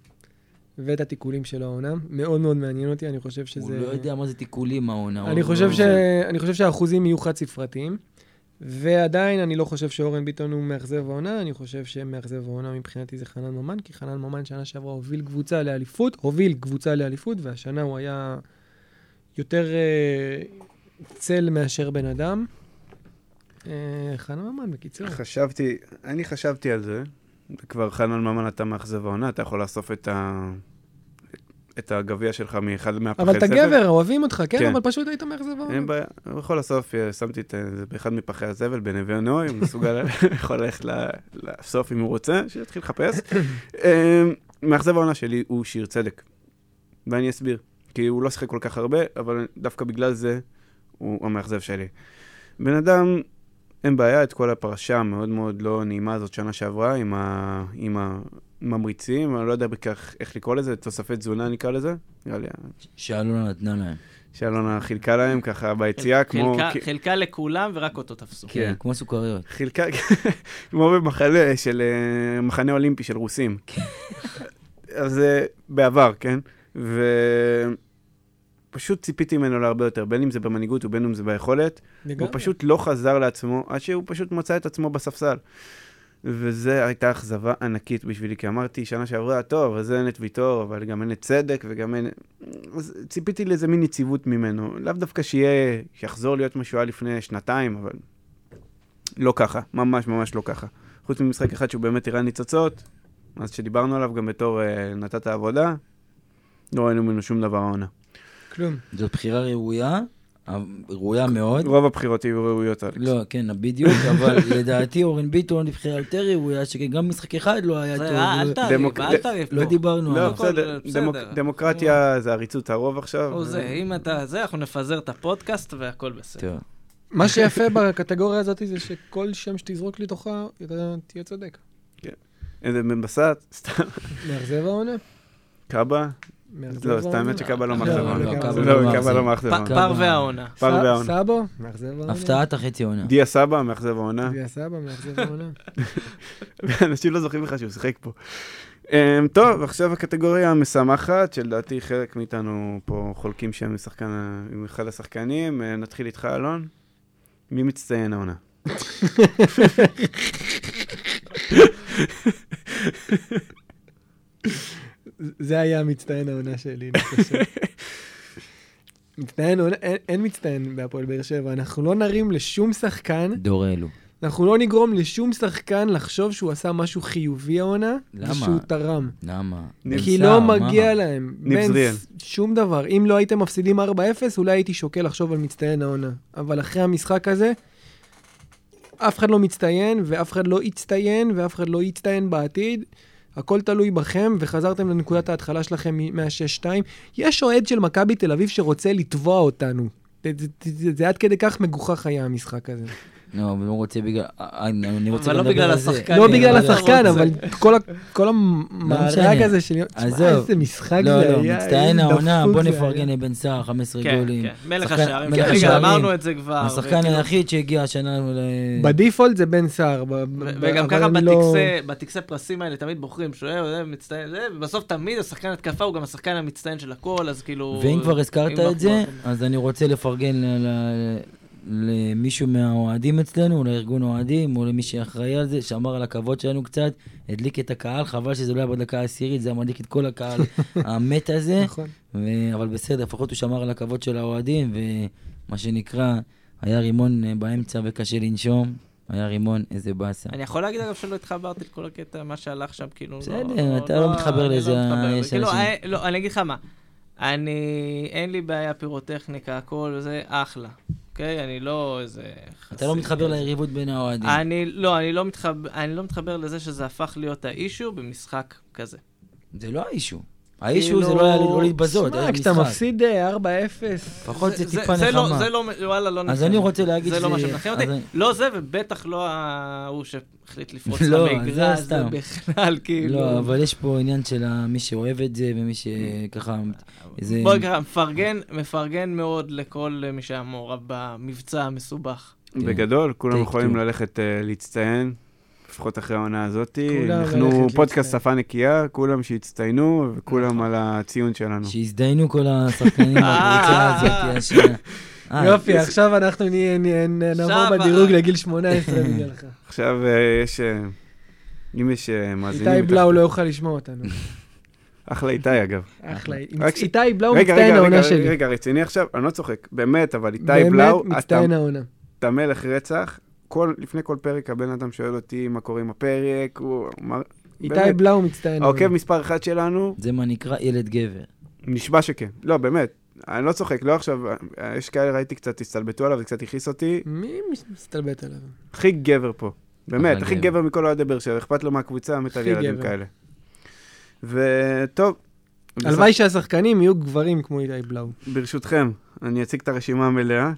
ואת התיקולים שלו העונה. מאוד מאוד מעניין אותי, אני חושב שזה... הוא לא יודע מה זה תיקולים העונה. אוקיי, אני הוא חושב, לא- ש... אני חושב שהאחוזים יהיו חד ספרתיים, ועדיין אני לא חושב שאורן ביטון הוא מאכזב העונה, אני חושב שמאכזב העונה מבחינתי זה חנן ממן, כי חנן ממן שנה שעברה הוביל קבוצה לאליפות, הוביל קבוצה לאליפות, והשנה הוא היה יותר אה, צל מאשר בן אדם. אה, חנן ממן, בקיצור. חשבתי, אני חשבתי על זה. כבר חנן ממן אתה מאכזב העונה, אתה יכול לאסוף את ה... את הגביע שלך מאחד מהפחי אבל אתה זבל. גבר, אוהבים אותך, כן, כן. אבל פשוט היית מאכזב. אין בעיה, בכל הסוף אה, שמתי את זה באחד מפחי הזבל בנווה הנוי, הוא מסוגל, יכול ללכת ל- לסוף אם הוא רוצה, שיתחיל לחפש. אה, מאכזב העונה שלי הוא שיר צדק, ואני אסביר, כי הוא לא שיחק כל כך הרבה, אבל דווקא בגלל זה הוא המאכזב שלי. בן אדם, אין בעיה, את כל הפרשה המאוד מאוד לא נעימה הזאת שנה שעברה, עם, ה... עם הממריצים, אני לא יודע בכך איך לקרוא לזה, תוספי תזונה נקרא לזה, נראה לי, שאלונה נתנה להם. שאלונה חילקה להם ככה ביציאה, כמו... חלקה- חלקה לכולם ורק אותו תפסו. כן, כמו סוכריות. חילקה, כמו במחנה של אה, מחנה אולימפי של רוסים. אז זה בעבר, כן? ופשוט ציפיתי ממנו להרבה יותר, בין אם זה במנהיגות ובין אם זה ביכולת. הוא פשוט לא חזר לעצמו עד שהוא פשוט מצא את עצמו בספסל. וזו הייתה אכזבה ענקית בשבילי, כי אמרתי שנה שעברה, טוב, אז אין את ויטור, אבל גם אין את צדק וגם אין... אז ציפיתי לאיזה מין יציבות ממנו. לאו דווקא שיהיה, שיחזור להיות מה שהוא היה לפני שנתיים, אבל לא ככה, ממש ממש לא ככה. חוץ ממשחק אחד שהוא באמת הראה ניצוצות, אז שדיברנו עליו גם בתור אה, נתת עבודה, לא ראינו ממנו שום דבר העונה. כלום. זאת בחירה ראויה, אבל- ראויה מאוד. רוב הבחירות יהיו ראויות, אלכס. לא, כן, בדיוק, אבל לדעתי אורן ביטון לבחירה יותר ראויה, שגם משחק אחד לא היה זה- טוב. אה, אל תריב, דמוק- אל תריב לא פה. דיברנו לא, עליו. הכל בסדר, בסדר. דמוק- דמוקרטיה זה עריצות הרוב עכשיו. או זה, אם אתה זה, אנחנו נפזר את הפודקאסט והכל בסדר. טוב. מה שיפה בקטגוריה הזאת זה שכל שם שתזרוק לתוכה, אתה תהיה צודק. איזה בן בסט, סתם, מאכזב העונה? קאבה, מאכזב לא, סתם, העונה? האמת שקאבה לא לא, מאכזבה. לא, קאבה לא לא, קאבה מאכזב. לא פ- מאכזבה. כמה- פר והעונה. פר ס- והעונה. סבו, מאכזב העונה. הפתעת החצי עונה. דיה סבא, מאכזב העונה. דיה סבא, מאכזב העונה. אנשים לא זוכרים לך שהוא שיחק פה. אמ, טוב, עכשיו הקטגוריה המשמחת, שלדעתי חלק מאיתנו פה חולקים שם עם שחקן ה- עם אחד השחקנים. אה, נתחיל איתך, אלון. מי מצטיין העונה? זה היה המצטיין העונה שלי, אני חושב. מצטיין העונה, אין- אין מצטיין בהפועל באר שבע, אנחנו לא נרים לשום שחקן, דור אלו. אנחנו לא נגרום לשום שחקן לחשוב שהוא עשה משהו חיובי העונה, למה? ושהוא תרם. למה? ניב כי סער, לא מה? מגיע להם. ניב בן, זריאן. ס- שום דבר. אם לא הייתם מפסידים 4-0, אולי הייתי שוקל לחשוב על מצטיין העונה. אבל אחרי המשחק הזה, אף אחד לא מצטיין, ואף אחד לא יצטיין, ואף אחד לא יצטיין בעתיד. הכל תלוי בכם, וחזרתם לנקודת ההתחלה שלכם מ- מה-6-2. יש אוהד של מכבי תל אביב שרוצה לתבוע אותנו. זה- זה- זה- זה עד כדי כך מגוחך היה המשחק הזה. לא, אבל לא רוצה בגלל... אה, אני אני רוצה אבל גם לא לדבר בגלל על זה. השחקן. לא אני בגלל לא יודע. השחקן, רוצה. אבל כל ה- כל לא המארג משנה. הזה של... עזוב. תשמע, איזה משחק זה לא, היה. לא, מצטיין איזה העונה, דפוק בוא זה היה. נפרגן לבן סער, 15 כן, גולים. כן. מלך שחקן- השערים. מלך כן, רגע, השערים. אמרנו את זה כאילו. כבר. השחקן וכאילו- היחיד שהגיע השנה ל... בדיפולט זה בן סער. ב- ב- ו- אבל וגם ככה אני לא- בטקסי- בטקסי פרסים האלה תמיד בוחרים שוער, זה, מצטיין, זה, ובסוף תמיד השחקן התקפה הוא גם השחקן המצטיין של הכל, אז כאילו... ואם כבר הזכרת אם את זה, אנחנו- אז אני רוצה לפרגן ל- ל- למישהו מהאוהדים אצלנו, לארגון אוהדים, או למי שאחראי על זה, שמר על הכבוד שלנו קצת, הדליק את הקהל, חבל שזה לא היה בדקה העשירית, זה היה מדליק את כל הקהל המת הזה, נכון. ו- אבל בסדר, לפחות הוא שמר על הכבוד של האוהדים, ומה שנקרא, היה רימון אה, באמצע וקשה לנשום, היה רימון, איזה באסה. אני יכול להגיד אגב שלא התחברתי לכל הקטע, מה שהלך שם, כאילו... לא- בסדר, אתה לא מתחבר אני לזה, לא מתחבר. יש כאילו, אנשים- אה, לא, אני אגיד לך מה, אני, אין לי בעיה פירוטכניקה, הכל זה אחלה, אוקיי? אני לא איזה... אתה לא חסיד מתחבר כזה. ליריבות בין האוהדים. אני לא, אני לא מתחבר, אני לא מתחבר לזה שזה הפך להיות האישו במשחק כזה. זה לא האישו. האישו כאילו- זה לא היה לא להתבזות, היה שמע, כשאתה משחק. מפסיד אה, 4-0, לפחות זה טיפה זה לא, נחמה. זה לא, וואלה, לא אז נחמה. אני רוצה להגיד זה לא מה ש- שמנחם אז אותי. אני- לא זה, ובטח לא ההוא שהחליט לפרוץ לא, למגרש, זה זה סתם. בכלל, כאילו... לא, אבל יש פה עניין של ה- מי שאוהב את זה ומי שככה... זה- בוא נקרא, מפרגן, מפרגן מאוד לכל מי שהיה מעורב במבצע המסובך. כן. בגדול, כולם Take יכולים two. ללכת אה, להצטיין, לפחות אחרי העונה הזאת. כולם אנחנו ללכת פודקאסט להצטיין. נכון. שפה נקייה, כולם שהצטיינו, וכולם על הציון שלנו. שהזדיינו כל השחקנים בקבוצה אה, הזאת השנה. אה, יופי, עכשיו אנחנו נהיה- נהיה- נעבור עכשיו, בדירוג אה. לגיל 18 בגללך. עכשיו אה, יש... אה, אם יש אה, מאזינים... איתי מתחת- בלאו לא יוכל לשמוע אותנו. אחלה איתי, אגב. אחלה. עם- רק ש- איתי בלאו רגע, לא מצטיין רגע, העונה רגע, שלי. רגע, רציני עכשיו? אני לא צוחק, באמת, אבל איתי באמת בלאו, אתה- מצטיין העונה. אתה מלך רצח. כל, לפני כל פרק הבן אדם שואל אותי מה קורה עם הפרק, הוא אמר... איתי באמת, כן, אוקיי, בלאו מצטיין העונה. העוקב מספר אחת שלנו, זה מה נקרא ילד גבר. נשבע שכן. לא, באמת. אני לא צוחק, לא עכשיו, אה, יש כאלה, ראיתי קצת, הסתלבטו עליו, זה קצת הכעיס אותי. מי מסתלבט עליו? הכי גבר פה. באמת, אחלה הכי גבר. גבר מכל אוהדי באר שבע, אכפת לו מהקבוצה, מת על הכי ילדים גבר. כאלה. וטוב. הלוואי שהשחקנים יהיו גברים כמו איתי בלאו. ברשותכם, אני אציג את הרשימה המלאה.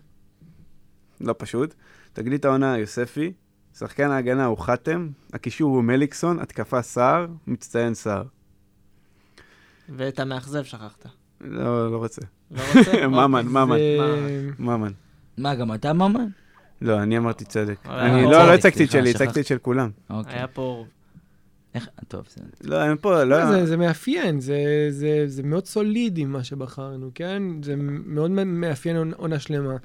לא פשוט. תגלית העונה, יוספי. שחקן ההגנה הוא חתם. הקישור הוא מליקסון. התקפה סער. מצטיין סער. ואת המאכזב שכחת. לא, לא רוצה. לא רוצה? ממן, אוקיי. ממן, זה- מה? ממן. מה, גם אתה ממן? לא, אני אמרתי צדק. אה, אני לא, אה, לא צדק, הצגתי את סליחה, שלי, שכחתי. הצגתי את של כולם. אוקיי. היה פה... איך... טוב, בסדר. לא, הם פה, לא... אה. זה- זה מאפיין, זה- זה- זה מאוד סולידי מה שבחרנו, כן? זה מאוד מאפיין עונה- עונה שלמה.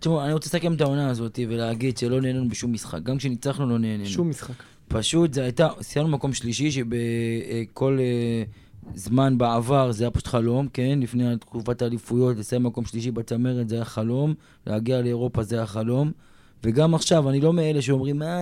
תשמעו, אני רוצה לסכם את העונה הזאת ולהגיד שלא נהנינו בשום משחק. גם כשניצחנו לא נהנינו. שום משחק. פשוט זה הייתה, סיימנו מקום שלישי שבכל אה, זמן בעבר זה היה פשוט חלום, כן? לפני תקופת האליפויות, לסיים מקום שלישי בצמרת זה היה חלום, להגיע לאירופה זה היה חלום. וגם עכשיו, אני לא מאלה שאומרים, מה,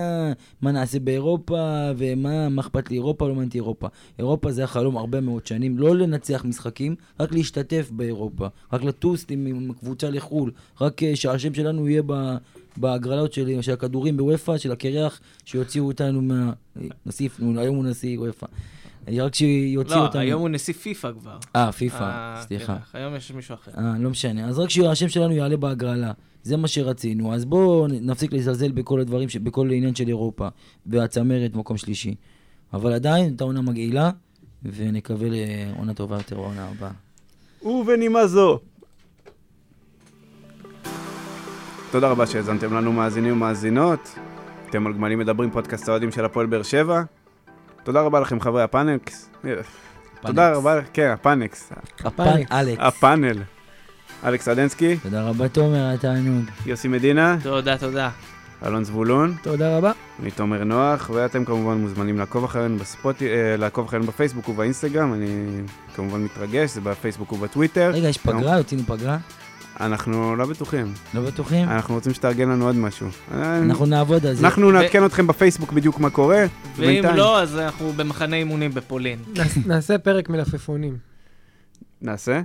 מה נעשה באירופה, ומה, מה אכפת לי אירופה, לא מעניין אותי אירופה. אירופה זה החלום הרבה מאוד שנים, לא לנצח משחקים, רק להשתתף באירופה, רק לטוס עם, עם קבוצה לחו"ל, רק אה, שהשם שלנו יהיה ב, בהגרלות של, של הכדורים בוופא, של הקרח, שיוציאו אותנו מה... נסיף, נו, היום הוא נשיא וופא. רק שיוציאו לא, אותנו... היום הוא נשיא פיפ"א כבר. אה, אה, פיפא, סליחה. כן, היום יש מישהו אחר. אה, לא משנה. אז רק שהשם שלנו יעלה בהגרלה. זה מה שרצינו. אז בואו נפסיק לזלזל בכל הדברים, ש... בכל העניין של אירופה. והצמרת מקום שלישי. אבל עדיין, הייתה עונה מגעילה, ונקווה לעונה טובה יותר בעונה הבאה. ובנימה זו. תודה רבה שהאזנתם לנו מאזינים ומאזינות. אתם על גמלים מדברים, פודקאסט האוהדים של הפועל באר שבע. תודה רבה לכם חברי הפאנקס. תודה רבה, כן, הפאנקס. הפאנק. אלכס. הפאנל. אלכס אדנסקי, תודה רבה, תומר, היה תענוג. יוסי מדינה, תודה, תודה. אלון זבולון, תודה רבה. אני תומר נוח, ואתם כמובן מוזמנים לעקוב אחרינו בספוטי... אה, לעקוב אחרינו בפייסבוק ובאינסטגרם, אני כמובן מתרגש, זה בפייסבוק ובטוויטר. רגע, יש פגרה? יוצאים לפגרה? אנחנו לא בטוחים, לא בטוחים? אנחנו רוצים שתארגן לנו עוד משהו. אנחנו נעבוד על זה. אה, אנחנו נעדכן אתכם בפייסבוק בדיוק מה קורה. ואם בינתיים. לא, אז אנחנו במחנה אימונים בפולין. נעש- נעשה פרק מלפפונים. נעשה?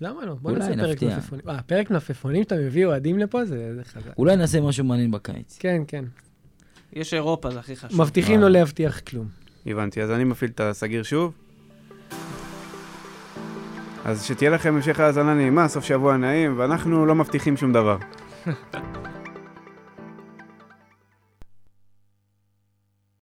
למה לא? בוא אולי נעשה פרק נפתיע. מלפפונים. אה, פרק מלפפונים שאתה מביא אוהדים לפה זה זה חזק. אולי נעשה משהו מעניין בקיץ. כן, כן. יש אירופה, זה הכי חשוב. מבטיחים לא וואו. להבטיח כלום. הבנתי, אז אני מפעיל את הסגיר שוב. אז שתהיה לכם המשך האזנה נעימה, סוף שבוע נעים, ואנחנו לא מבטיחים שום דבר.